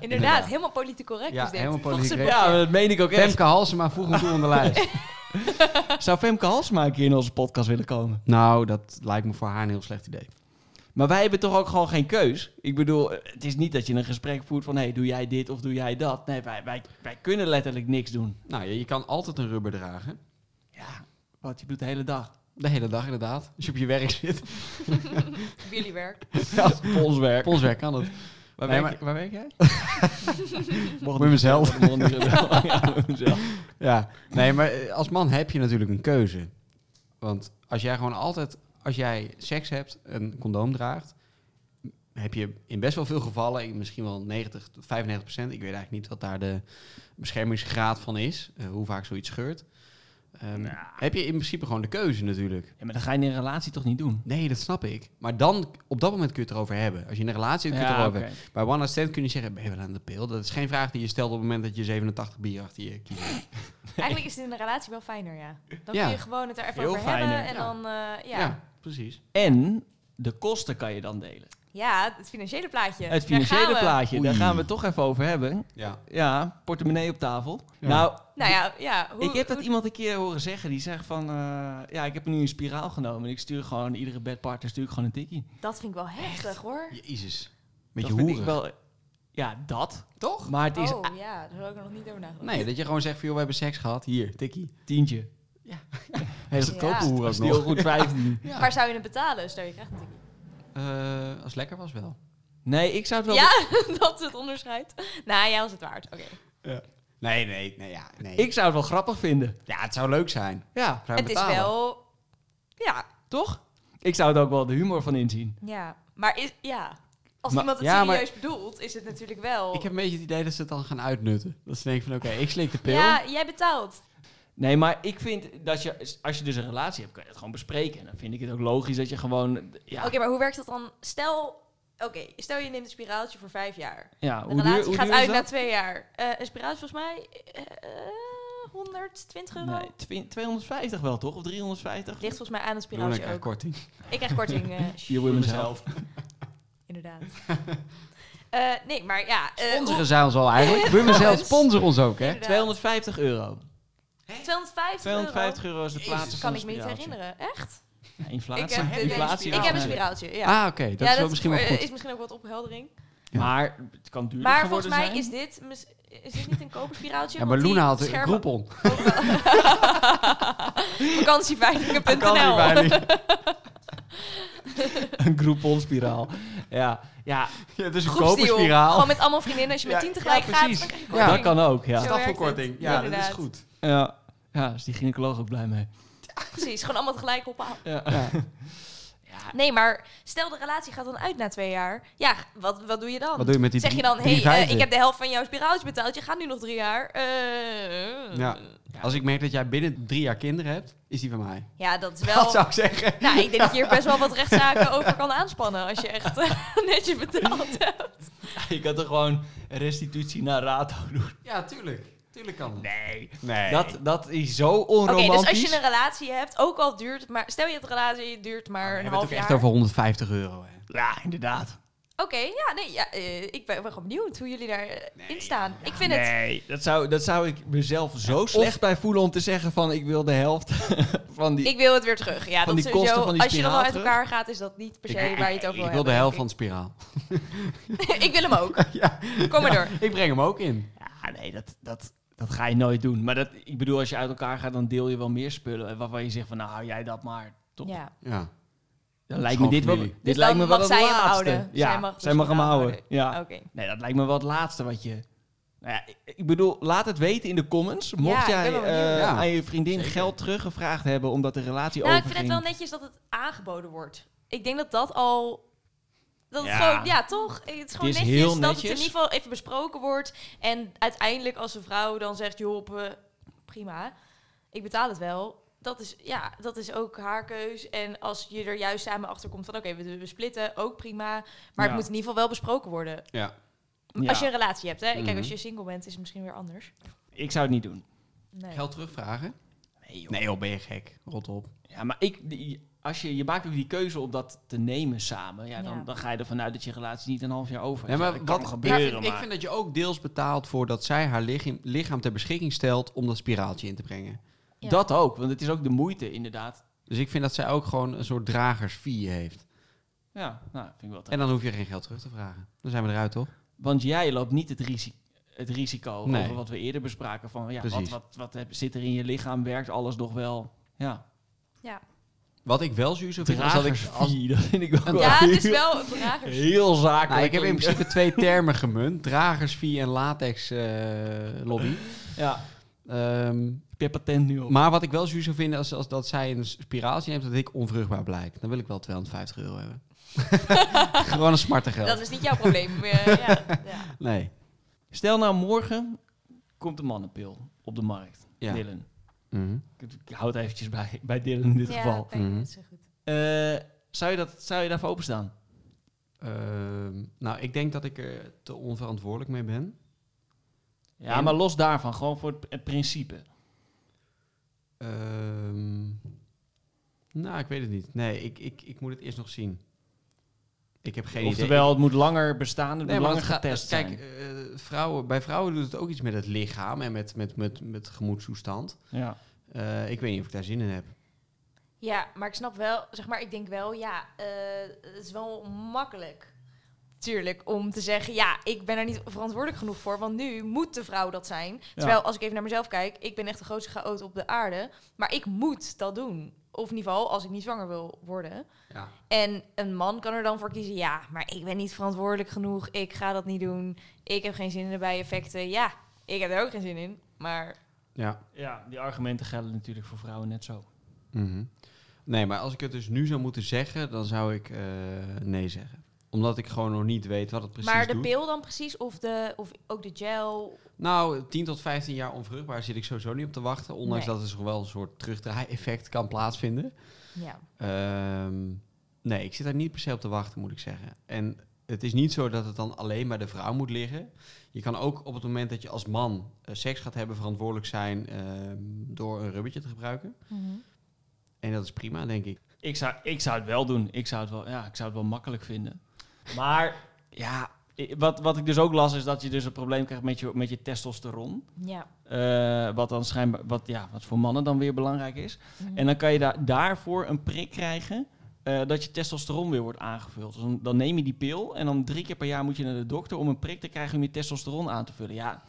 Speaker 4: Inderdaad, helemaal politiek correct
Speaker 3: Ja,
Speaker 4: is dit.
Speaker 3: helemaal
Speaker 4: Volgens
Speaker 3: politiek
Speaker 4: het boekje.
Speaker 2: Ja, dat meen ik ook echt.
Speaker 3: Femke Halsema vroeg hem toe aan de lijst.
Speaker 2: Zou Femke Halsma een keer in onze podcast willen komen?
Speaker 3: Nou, dat lijkt me voor haar een heel slecht idee.
Speaker 2: Maar wij hebben toch ook gewoon geen keus? Ik bedoel, eh, het is niet dat je een gesprek voert van... hé, hey, doe jij dit of doe jij dat? Nee, wij, wij, wij kunnen letterlijk niks doen.
Speaker 3: Nou, je, je kan altijd een rubber dragen.
Speaker 2: Ja, wat je doet de hele dag.
Speaker 3: De hele dag inderdaad. Als je op je werk zit.
Speaker 4: Jullie werk.
Speaker 2: Ja, polswerk.
Speaker 3: Op ons werk kan het.
Speaker 2: Waar,
Speaker 3: Nee,
Speaker 2: werk,
Speaker 3: maar-
Speaker 2: je- waar werk jij?
Speaker 3: Met mezelf.
Speaker 2: Mocht niet zeggen. Ja, met mezelf.
Speaker 3: Ja, nee, maar eh, als man heb je natuurlijk een keuze. Want als jij gewoon altijd, als jij seks hebt, een condoom draagt, m- heb je in best wel veel gevallen, in misschien wel 90 tot 95 procent, ik weet eigenlijk niet wat daar de beschermingsgraad van is, eh, hoe vaak zoiets scheurt, ehm,
Speaker 2: Nou.
Speaker 3: heb je in principe gewoon de keuze natuurlijk.
Speaker 2: Ja, maar dat ga je in een relatie toch niet doen?
Speaker 3: Nee, dat snap ik. Maar dan, op dat moment kun je het erover hebben. Als je in een relatie hebt, kun je het
Speaker 2: Ja, oké.
Speaker 3: erover hebben. Bij One Night Stand kun je zeggen, ben je wel aan de pil? Dat is geen vraag die je stelt op het moment dat je 87 bier achter je kiest.
Speaker 4: Eigenlijk is het in een relatie wel fijner, ja. Dan
Speaker 3: Ja.
Speaker 4: kun je gewoon het er even
Speaker 2: Veel
Speaker 4: over
Speaker 2: fijner,
Speaker 4: hebben. En
Speaker 3: ja.
Speaker 4: dan, eh, ja. Ja.
Speaker 3: ja precies.
Speaker 2: En de kosten kan je dan delen.
Speaker 4: het financiële plaatje.
Speaker 2: Het
Speaker 4: Daar gaan
Speaker 2: financiële
Speaker 4: we.
Speaker 2: plaatje, daar
Speaker 3: Oei.
Speaker 2: gaan we het toch even over hebben.
Speaker 3: Ja.
Speaker 2: Ja, portemonnee op tafel.
Speaker 3: Ja.
Speaker 2: Nou,
Speaker 4: Nou ja, ja hoe,
Speaker 2: ik heb dat
Speaker 4: hoe-
Speaker 2: iemand een keer horen zeggen. Die zegt van, eh, ja, ik heb nu een spiraal genomen. En ik stuur gewoon, iedere bedpartner stuur ik gewoon een tikkie.
Speaker 4: dat vind ik wel heftig, hoor.
Speaker 3: Jezus.
Speaker 2: Dat
Speaker 3: Beetje
Speaker 2: vind
Speaker 3: hoerig.
Speaker 2: ik wel. Ja, dat.
Speaker 3: Toch?
Speaker 2: Maar het is
Speaker 4: oh, ja, daar heb ik er nog niet over nagedacht.
Speaker 3: Nee, dat je gewoon zegt van, joh, we hebben seks gehad. Hier, tikkie.
Speaker 2: tientje.
Speaker 3: Hele goedkope
Speaker 4: Ja.
Speaker 3: hoer
Speaker 2: Dat
Speaker 3: ook
Speaker 2: is heel
Speaker 3: nog.
Speaker 2: goed 15.
Speaker 3: Ja.
Speaker 4: Waar zou je het betalen? Stel, je krijgt het natuurlijk.
Speaker 3: Eh, als het lekker was wel.
Speaker 2: Nee, ik zou het wel...
Speaker 4: Ja, dat is het onderscheid. Nou ja, was het waard. Oké.
Speaker 3: Nee, nee, nee, ja, nee.
Speaker 2: Ik zou het wel grappig vinden.
Speaker 3: Ja, het zou leuk zijn.
Speaker 2: Ja,
Speaker 3: Zou je
Speaker 4: Het is
Speaker 3: betalen?
Speaker 4: wel... Ja,
Speaker 2: toch? Ik zou het ook wel de humor van inzien.
Speaker 4: ja. Maar is, ja. als
Speaker 3: Maar-
Speaker 4: iemand het
Speaker 3: ja, maar-
Speaker 4: serieus bedoelt, is het natuurlijk wel...
Speaker 3: Ik heb een beetje het idee dat ze het dan gaan uitnutten. Dat ze denken van, oké, ik slik de pil.
Speaker 4: Ja, jij betaalt.
Speaker 2: Nee, maar ik vind dat je, als je dus een relatie hebt, kan je dat gewoon bespreken. En dan vind ik het ook logisch dat je gewoon, ja,
Speaker 4: Oké, maar hoe werkt dat dan? Stel, oké, stel je neemt een spiraaltje voor vijf jaar.
Speaker 2: ja
Speaker 4: De
Speaker 2: hoe duur,
Speaker 4: relatie
Speaker 2: hoe
Speaker 4: gaat
Speaker 2: duur is
Speaker 4: uit na
Speaker 2: dat?
Speaker 4: twee jaar. Eh, een spiraaltje volgens mij eh, eh, 120 euro.
Speaker 2: Nee, twi- 250 wel toch? Of 350?
Speaker 4: Ligt volgens mij aan een
Speaker 3: Doe dan
Speaker 4: spiraaltje
Speaker 3: krijg je
Speaker 4: ook.
Speaker 3: korting.
Speaker 4: Ik krijg korting, eh,
Speaker 2: Je
Speaker 4: sjoe,
Speaker 2: wil mezelf.
Speaker 4: inderdaad. Eh, nee, maar ja. eh,
Speaker 3: Sponsoren zijn ons al eigenlijk. Bummer zelf sponsor ons ook, hè?
Speaker 4: inderdaad.
Speaker 2: 250 euro.
Speaker 4: 250,
Speaker 2: 250
Speaker 4: 250
Speaker 2: euro is de
Speaker 3: Jezus.
Speaker 2: plaats.
Speaker 4: euro. Kan ik me niet herinneren. Echt? Ik
Speaker 2: inflatie.
Speaker 4: heb, de-
Speaker 2: inflatie.
Speaker 4: ik heb een
Speaker 2: Ja.
Speaker 4: spiraaltje, ja.
Speaker 3: Ah, oké. Dat
Speaker 4: ja,
Speaker 3: is wel misschien wel
Speaker 4: voor-
Speaker 3: goed.
Speaker 4: is misschien ook wat opheldering.
Speaker 3: Ja.
Speaker 2: Maar het kan duurder
Speaker 4: Maar
Speaker 2: geworden
Speaker 4: volgens mij
Speaker 2: zijn.
Speaker 4: is dit, mis- is dit niet een koperspiraaltje?
Speaker 3: Ja, maar Loena had een
Speaker 4: groep.
Speaker 3: groepon.
Speaker 4: Vakantieveilingen.nl
Speaker 2: een Groupon-spiraal. ja, ja,
Speaker 3: Ja, het is een
Speaker 4: Groepsdeal.
Speaker 3: koperspiraal.
Speaker 4: Gewoon met allemaal vriendinnen. Als je met
Speaker 3: Ja,
Speaker 4: tien tegelijk
Speaker 3: ja,
Speaker 4: gaat,
Speaker 3: precies.
Speaker 4: dan krijg je
Speaker 3: Ja.
Speaker 2: dat
Speaker 4: korting.
Speaker 2: kan ook. Ja.
Speaker 4: Zo.
Speaker 3: Staffelkorting.
Speaker 4: werkt het.
Speaker 3: Ja, dat is
Speaker 4: Inderdaad.
Speaker 3: goed.
Speaker 2: Ja. ja, is die gynaecoloog ook blij mee.
Speaker 4: Precies, gewoon allemaal tegelijk ophalen.
Speaker 2: Ja.
Speaker 3: Ja.
Speaker 2: Ja.
Speaker 4: Nee, maar stel de relatie gaat dan uit na twee jaar. Ja, wat, wat doe je dan?
Speaker 3: Wat doe je met die
Speaker 4: zeg je dan,
Speaker 3: drie
Speaker 4: hé, hey, eh,
Speaker 3: vijfde?
Speaker 4: ik heb de helft van jouw spiraaltje betaald. Je gaat nu nog drie jaar. Eh,
Speaker 3: Ja. Als ik merk dat jij binnen drie jaar kinderen hebt, is die van mij.
Speaker 4: ja, dat is
Speaker 3: Dat
Speaker 4: wel...
Speaker 3: zou ik zeggen.
Speaker 4: Nou, ik denk dat je hier best wel wat rechtszaken over kan aanspannen. Als je echt eh, netjes betaald hebt.
Speaker 2: Je kan er gewoon restitutie naar rato doen.
Speaker 3: Ja, tuurlijk. Tuurlijk kan dat.
Speaker 2: Nee.
Speaker 3: Nee.
Speaker 2: Dat, dat is zo
Speaker 4: Oké,
Speaker 2: onromantisch.
Speaker 4: dus als je een relatie hebt, ook al duurt het maar... Stel je hebt een relatie, het duurt maar
Speaker 3: we
Speaker 4: een
Speaker 3: hebben het
Speaker 4: half
Speaker 3: ook
Speaker 4: jaar.
Speaker 3: echt over 150 euro. Hè.
Speaker 2: Ja, inderdaad.
Speaker 4: Oké, ja, nee, ja, eh, ik ben wel gewoon benieuwd hoe jullie daarin in staan. ik vind het...
Speaker 2: Nee, dat zou, dat zou ik mezelf zo slecht bij voelen om te zeggen van ik wil de helft van die...
Speaker 4: Ik wil het weer terug. Ja,
Speaker 2: Van
Speaker 4: dat
Speaker 2: die
Speaker 4: is
Speaker 2: kosten
Speaker 4: sowieso,
Speaker 2: van die
Speaker 4: als je dan wel uit
Speaker 2: spiraal
Speaker 4: elkaar gaat, is dat niet per se waar je het
Speaker 3: ik
Speaker 4: over wil
Speaker 3: wil de
Speaker 4: hebben,
Speaker 3: helft van
Speaker 4: denk
Speaker 3: het spiraal.
Speaker 4: ik. ik wil hem ook. Kom maar door.
Speaker 3: Ik breng hem ook in.
Speaker 2: Ja, nee, dat, dat, dat ga je nooit doen. Maar dat, ik bedoel, als je uit elkaar gaat, dan deel je wel meer spullen. Waarvan je zegt van nou, hou jij dat maar. Toch?
Speaker 4: Ja.
Speaker 3: Ja.
Speaker 2: Dan lijkt me dit wel, dit
Speaker 3: Schoonfamilie.
Speaker 4: Dus
Speaker 2: lijkt me
Speaker 4: dan
Speaker 2: wel
Speaker 4: mag
Speaker 2: het
Speaker 4: zij hem
Speaker 2: laatste.
Speaker 4: houden.
Speaker 2: Ja,
Speaker 4: Zij mag de
Speaker 2: hem
Speaker 4: spiraal
Speaker 2: houden.
Speaker 4: houden. Oh.
Speaker 2: Ja.
Speaker 4: Oké.
Speaker 2: Nee, dat lijkt me wel het laatste wat je... Nou ja, ik- ik bedoel, laat het weten in de comments. Mocht
Speaker 4: ik ben
Speaker 2: jij
Speaker 4: wel
Speaker 2: eh,
Speaker 4: benieuwd.
Speaker 3: Ja,
Speaker 2: aan je vriendin
Speaker 3: zeker.
Speaker 2: geld teruggevraagd hebben omdat de relatie
Speaker 4: Nou, ik
Speaker 2: overging.
Speaker 4: vind het wel netjes dat het aangeboden wordt. Ik denk dat dat al... Dat het
Speaker 2: Ja.
Speaker 4: gewoon, ja, toch? Het is gewoon
Speaker 2: is
Speaker 4: netjes,
Speaker 2: heel
Speaker 4: dat het in
Speaker 2: netjes.
Speaker 4: ieder geval even besproken wordt. En uiteindelijk als een vrouw dan zegt, joh, eh, prima, ik betaal het wel. Dat is, ja, dat is ook haar keus. En als je er juist samen achter komt van, oké, we, we splitten, ook prima. Maar
Speaker 2: Ja.
Speaker 4: het moet in ieder geval wel besproken worden.
Speaker 3: Ja.
Speaker 2: Ja.
Speaker 4: Als je een relatie hebt, hè. Kijk,
Speaker 3: Mhm.
Speaker 4: als je single bent, is het misschien weer anders.
Speaker 2: Ik zou het niet doen.
Speaker 4: Nee.
Speaker 3: Geld terugvragen?
Speaker 2: Nee, joh.
Speaker 3: Nee joh, ben je gek. Rot op.
Speaker 2: Ja, maar ik, die- als je, je maakt ook die keuze om dat te nemen samen. Ja, dan,
Speaker 4: Ja.
Speaker 2: dan ga je ervan uit dat je relatie niet een half jaar over is.
Speaker 3: Nee,
Speaker 2: Ja,
Speaker 3: maar
Speaker 2: dat
Speaker 3: wat-
Speaker 2: kan
Speaker 3: ik,
Speaker 2: gebeuren,
Speaker 3: vind, ik
Speaker 2: maar...
Speaker 3: vind dat je ook deels betaalt voor dat zij haar lichaam, lichaam ter beschikking stelt om dat spiraaltje in te brengen.
Speaker 4: Ja.
Speaker 2: Dat ook, want het is ook de moeite inderdaad.
Speaker 3: Dus ik vind dat zij ook gewoon een soort dragersfee heeft.
Speaker 2: Ja, nou, vind ik wel te-
Speaker 3: En dan hoef je geen geld terug te vragen. Dan zijn we eruit, toch?
Speaker 2: Want jij loopt niet het, risi- het risico
Speaker 3: Nee.
Speaker 2: over wat we eerder bespraken. Van ja, wat,
Speaker 3: Precies.
Speaker 2: wat, wat heb- zit er in je lichaam? Werkt alles nog wel? Ja,
Speaker 4: Ja.
Speaker 3: Wat ik wel zuur vind, is dat ik...
Speaker 2: dragers
Speaker 3: Als,
Speaker 2: dat vind ik wel
Speaker 4: ja, het is
Speaker 2: heel-
Speaker 4: wel vragen.
Speaker 2: heel zakelijk.
Speaker 3: nou, ik heb in
Speaker 2: klinken.
Speaker 3: principe twee termen gemunt. Dragersfee en latex eh, lobby.
Speaker 2: Ja,
Speaker 3: Ehm,
Speaker 2: heb je patent nu op.
Speaker 3: maar wat ik wel zuur zou vinden, als, als dat zij een spiraaltje neemt, dat ik onvruchtbaar blijk. Dan wil ik wel 250 euro hebben. gewoon een smarte geld.
Speaker 4: Dat is niet jouw probleem. eh, ja, ja.
Speaker 3: Nee.
Speaker 2: Stel nou morgen komt een mannenpil op de markt.
Speaker 3: Ja.
Speaker 2: Dylan.
Speaker 3: Mhm.
Speaker 2: Ik, ik hou het eventjes bij, bij Dylan in dit
Speaker 4: Ja,
Speaker 2: geval.
Speaker 4: denk ik
Speaker 3: Mhm.
Speaker 4: niet zo goed.
Speaker 2: Eh, zou, je dat, zou je daarvoor openstaan?
Speaker 3: Ehm, nou, ik denk dat ik er te onverantwoordelijk mee ben.
Speaker 2: Ja, maar los daarvan, gewoon voor het, het principe.
Speaker 3: Ehm, nou, ik weet het niet. Nee, ik, ik, ik moet het eerst nog zien. Ik heb geen idee.
Speaker 2: Oftewel, het moet langer bestaan, het
Speaker 3: Nee,
Speaker 2: moet
Speaker 3: maar
Speaker 2: langer
Speaker 3: het gaat-
Speaker 2: getest
Speaker 3: Kijk,
Speaker 2: zijn.
Speaker 3: eh, vrouwen, bij vrouwen doet het ook iets met het lichaam en met, met, met, met gemoedstoestand.
Speaker 2: Ja.
Speaker 3: Eh, ik weet niet of ik daar zin in heb.
Speaker 4: Ja, maar ik snap wel, zeg maar, ik denk wel, ja, eh, het is wel makkelijk. Tuurlijk, om te zeggen, ja, ik ben er niet verantwoordelijk genoeg voor, want nu moet de vrouw dat zijn. Terwijl, als ik even naar mezelf kijk, ik ben echt de grootste chaot op de aarde, maar ik moet dat doen. Of in ieder geval, als ik niet zwanger wil worden.
Speaker 3: Ja.
Speaker 4: En een man kan er dan voor kiezen, ja, maar ik ben niet verantwoordelijk genoeg, ik ga dat niet doen, ik heb geen zin in de bijeffecten. Ja, ik heb er ook geen zin in, maar
Speaker 3: ja.
Speaker 2: ja, die argumenten gelden natuurlijk voor vrouwen net zo.
Speaker 3: Mhm. Nee, maar als ik het dus nu zou moeten zeggen, dan zou ik eh, nee zeggen. Omdat ik gewoon nog niet weet wat het precies
Speaker 4: maar de
Speaker 3: doet.
Speaker 4: pil dan precies, of, de, of ook de gel?
Speaker 3: Nou, 10 tot 15 jaar onvruchtbaar zit ik sowieso niet op te wachten. Ondanks
Speaker 4: Nee.
Speaker 3: dat er zo wel een soort terugdraai-effect kan plaatsvinden.
Speaker 4: Ja.
Speaker 3: Ehm, nee, ik zit daar niet per se op te wachten, moet ik zeggen. En het is niet zo dat het dan alleen bij de vrouw moet liggen. Je kan ook op het moment dat je als man eh, seks gaat hebben, verantwoordelijk zijn ehm, door een rubbertje te gebruiken.
Speaker 4: Mhm.
Speaker 3: En dat is prima, denk ik.
Speaker 2: Ik zou, ik zou het wel doen. Ik zou het wel, ja, ik zou het wel makkelijk vinden. Maar ja, i- wat, wat ik dus ook las is dat je dus een probleem krijgt met je, met je testosteron.
Speaker 4: Ja.
Speaker 2: Eh, wat dan schijnbaar, wat, ja, wat voor mannen dan weer belangrijk is.
Speaker 4: Mhm.
Speaker 2: En dan kan je daar daarvoor een prik krijgen eh, dat je testosteron weer wordt aangevuld. Dus dan, dan neem je die pil en dan drie keer per jaar moet je naar de dokter om een prik te krijgen om je testosteron aan te vullen. Ja,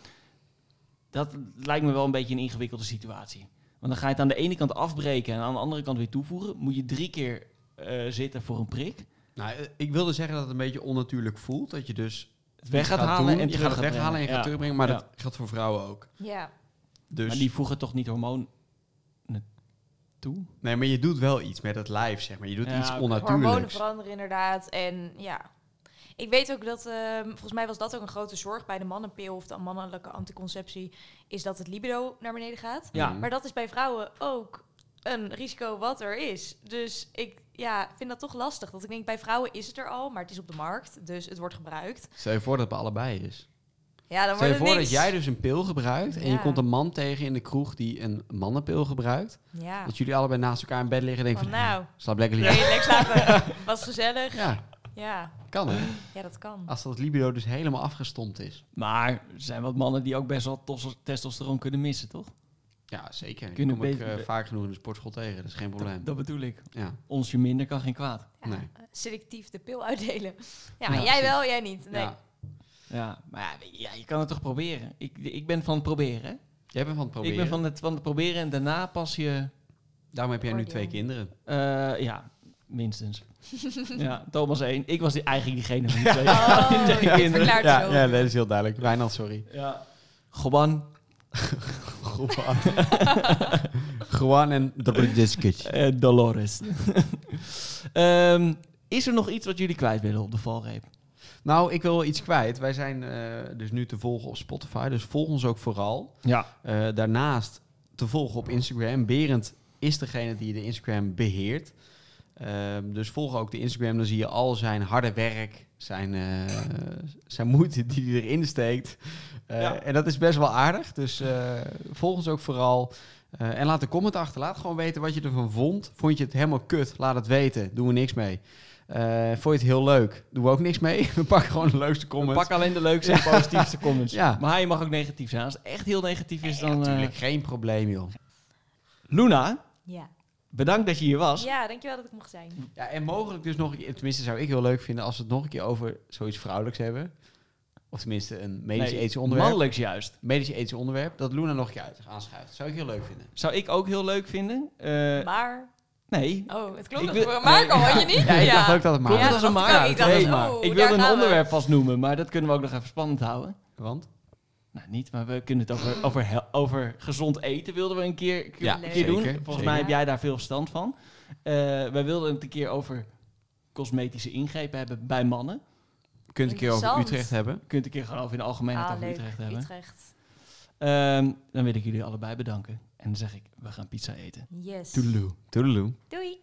Speaker 2: dat lijkt me wel een beetje een ingewikkelde situatie. Want dan ga je het aan de ene kant afbreken en aan de andere kant weer toevoegen. Moet je drie keer eh, zitten voor een prik.
Speaker 3: Nou, eh, ik wilde zeggen dat het een beetje onnatuurlijk voelt. Dat je dus
Speaker 2: Het weg
Speaker 3: iets
Speaker 2: gaat halen
Speaker 3: doen,
Speaker 2: en
Speaker 3: je
Speaker 2: terug
Speaker 3: gaat het weghalen en
Speaker 2: brengen.
Speaker 3: je gaat
Speaker 2: Ja.
Speaker 3: terugbrengen. Maar
Speaker 2: Ja.
Speaker 3: dat geldt voor vrouwen ook.
Speaker 4: Ja.
Speaker 3: Dus
Speaker 2: Maar die voegen toch niet hormoon toe?
Speaker 3: nee, maar je doet wel iets met het lijf, zeg maar. Je doet
Speaker 2: Ja,
Speaker 3: iets
Speaker 2: oké.
Speaker 4: Hormonen
Speaker 3: onnatuurlijks.
Speaker 4: veranderen inderdaad. En ja. Ik weet ook dat, ehm, volgens mij was dat ook een grote zorg bij de mannenpil of de mannelijke anticonceptie, is dat het libido naar beneden gaat.
Speaker 2: Ja.
Speaker 3: Mm.
Speaker 4: Maar dat is bij vrouwen ook een risico wat er is. Dus ik ja, vind dat toch lastig. Dat ik denk, bij vrouwen is het er al, maar het is op de markt, dus het wordt gebruikt.
Speaker 3: Stel je voor dat het bij allebei is.
Speaker 4: Ja,
Speaker 3: Stel
Speaker 4: dan wordt
Speaker 3: je
Speaker 4: het
Speaker 3: voor dat
Speaker 4: niks.
Speaker 3: jij dus een pil gebruikt en je
Speaker 4: Ja.
Speaker 3: komt een man tegen in de kroeg die een mannenpil gebruikt.
Speaker 4: Ja.
Speaker 3: Dat jullie allebei naast elkaar in bed liggen en denken
Speaker 4: Van
Speaker 3: van, nou,
Speaker 4: nou,
Speaker 3: slaap lekker
Speaker 4: wil
Speaker 3: liggen.
Speaker 4: je lekker slapen? Was gezellig.
Speaker 3: Ja,
Speaker 4: Ja,
Speaker 3: kan hè.
Speaker 4: ja dat kan.
Speaker 3: Als dat libido dus helemaal afgestompt is.
Speaker 2: Maar er zijn wat mannen die ook best wel tos- testosteron kunnen missen, toch?
Speaker 3: Ja, zeker. Die
Speaker 2: Kunnen
Speaker 3: kom ik
Speaker 2: beter-
Speaker 3: eh, vaak genoeg in de sportschool tegen, dat is geen probleem.
Speaker 2: Dat, dat bedoel ik.
Speaker 3: Ja,
Speaker 2: Onsje minder kan geen kwaad.
Speaker 3: nee.
Speaker 4: Eh, selectief de pil uitdelen. Ja,
Speaker 2: Ja,
Speaker 4: jij
Speaker 3: precies.
Speaker 4: wel, jij niet. Nee.
Speaker 3: Ja.
Speaker 2: Ja, maar ja, weet je, ja, je kan het toch proberen? Ik, ik ben van het proberen, hè?
Speaker 3: Jij bent van het proberen.
Speaker 2: Ik ben van het, van het proberen en daarna pas je...
Speaker 3: Daarom heb jij nu
Speaker 4: Oordeel.
Speaker 3: twee kinderen.
Speaker 2: eh, ja, minstens. ja, Thomas één. Ik was die, eigenlijk diegene van die twee.
Speaker 4: Oh,
Speaker 2: Die twee
Speaker 4: ja, het
Speaker 2: kinderen.
Speaker 4: verklaart het ook.
Speaker 3: dat is heel duidelijk. Wijnand, sorry.
Speaker 2: Ja. Goban
Speaker 3: Gewoon. Gewoon en Drudjiskic.
Speaker 2: en eh, Dolores. Ehm, is er nog iets wat jullie kwijt willen op de valreep?
Speaker 3: Nou, ik wil wel iets kwijt. Wij zijn eh, dus nu te volgen op Spotify, dus volg ons ook vooral.
Speaker 2: Ja.
Speaker 3: Eh, daarnaast te volgen op Instagram. Berend is degene die de Instagram beheert. Ehm, dus volg ook de Instagram, dan zie je al zijn harde werk, zijn, eh, zijn moeite die hij erin steekt. Eh,
Speaker 2: Ja.
Speaker 3: En dat is best wel aardig, dus eh, volg ons ook vooral. Eh, en laat een comment achter, laat gewoon weten wat je ervan vond. Vond je het helemaal kut, laat het weten, doen we niks mee. Eh, vond je het heel leuk, doen we ook niks mee. We pakken gewoon de leukste
Speaker 2: We
Speaker 3: comment.
Speaker 2: pakken alleen de leukste en positiefste comments.
Speaker 3: Ja.
Speaker 2: Maar je mag ook negatief zijn. Als het echt heel negatief is, dan... eh,
Speaker 3: Natuurlijk, geen probleem joh.
Speaker 2: Luna,
Speaker 4: Ja.
Speaker 2: bedankt dat je hier was.
Speaker 4: ja, dankjewel dat ik mocht zijn.
Speaker 3: Ja, en mogelijk dus nog, een keer- tenminste zou ik heel leuk vinden als we het nog een keer over zoiets vrouwelijks hebben. Of tenminste een medisch
Speaker 2: Nee,
Speaker 3: ethisch onderwerp.
Speaker 2: Mannelijks juist.
Speaker 3: medisch ethisch onderwerp, dat Luna nog een keer uit- aanschuift. Zou ik heel leuk vinden.
Speaker 2: Zou ik ook heel leuk vinden. Eh,
Speaker 4: Maar,
Speaker 2: nee.
Speaker 4: oh, het
Speaker 2: ik
Speaker 4: klopt.
Speaker 2: wil-
Speaker 4: dat voor Marco, had je niet?
Speaker 3: Ja, ik dacht ook dat het maar
Speaker 2: Klopt
Speaker 4: Ja,
Speaker 2: het als
Speaker 3: was.
Speaker 4: dat
Speaker 2: een
Speaker 4: dacht
Speaker 2: maar
Speaker 4: ik ook.
Speaker 2: uit?
Speaker 4: Ik dacht
Speaker 2: Nee,
Speaker 4: als-
Speaker 2: maar.
Speaker 4: oeh,
Speaker 2: ik
Speaker 4: daar
Speaker 2: wilde een
Speaker 4: gaan we.
Speaker 2: onderwerp vast noemen, maar dat kunnen we ook nog even spannend houden.
Speaker 3: Want?
Speaker 2: Nou, niet, maar we kunnen het over, over, hel- over gezond eten wilden we een keer, een keer-
Speaker 3: Ja,
Speaker 2: een keer doen.
Speaker 3: zeker,
Speaker 2: Volgens
Speaker 3: zeker.
Speaker 2: mij heb jij daar veel verstand van. Eh, wij wilden het een keer over cosmetische ingrepen hebben bij mannen.
Speaker 3: Kunt een keer over
Speaker 4: Interessant.
Speaker 3: Utrecht hebben.
Speaker 2: Je kunt een keer gewoon over in de algemeenheid
Speaker 4: Ah,
Speaker 2: over
Speaker 4: leuk.
Speaker 2: Utrecht hebben.
Speaker 4: Utrecht.
Speaker 2: Ehm, dan wil ik jullie allebei bedanken. En dan zeg ik, we gaan pizza eten.
Speaker 4: Yes.
Speaker 3: Toedeloe.
Speaker 4: Doei.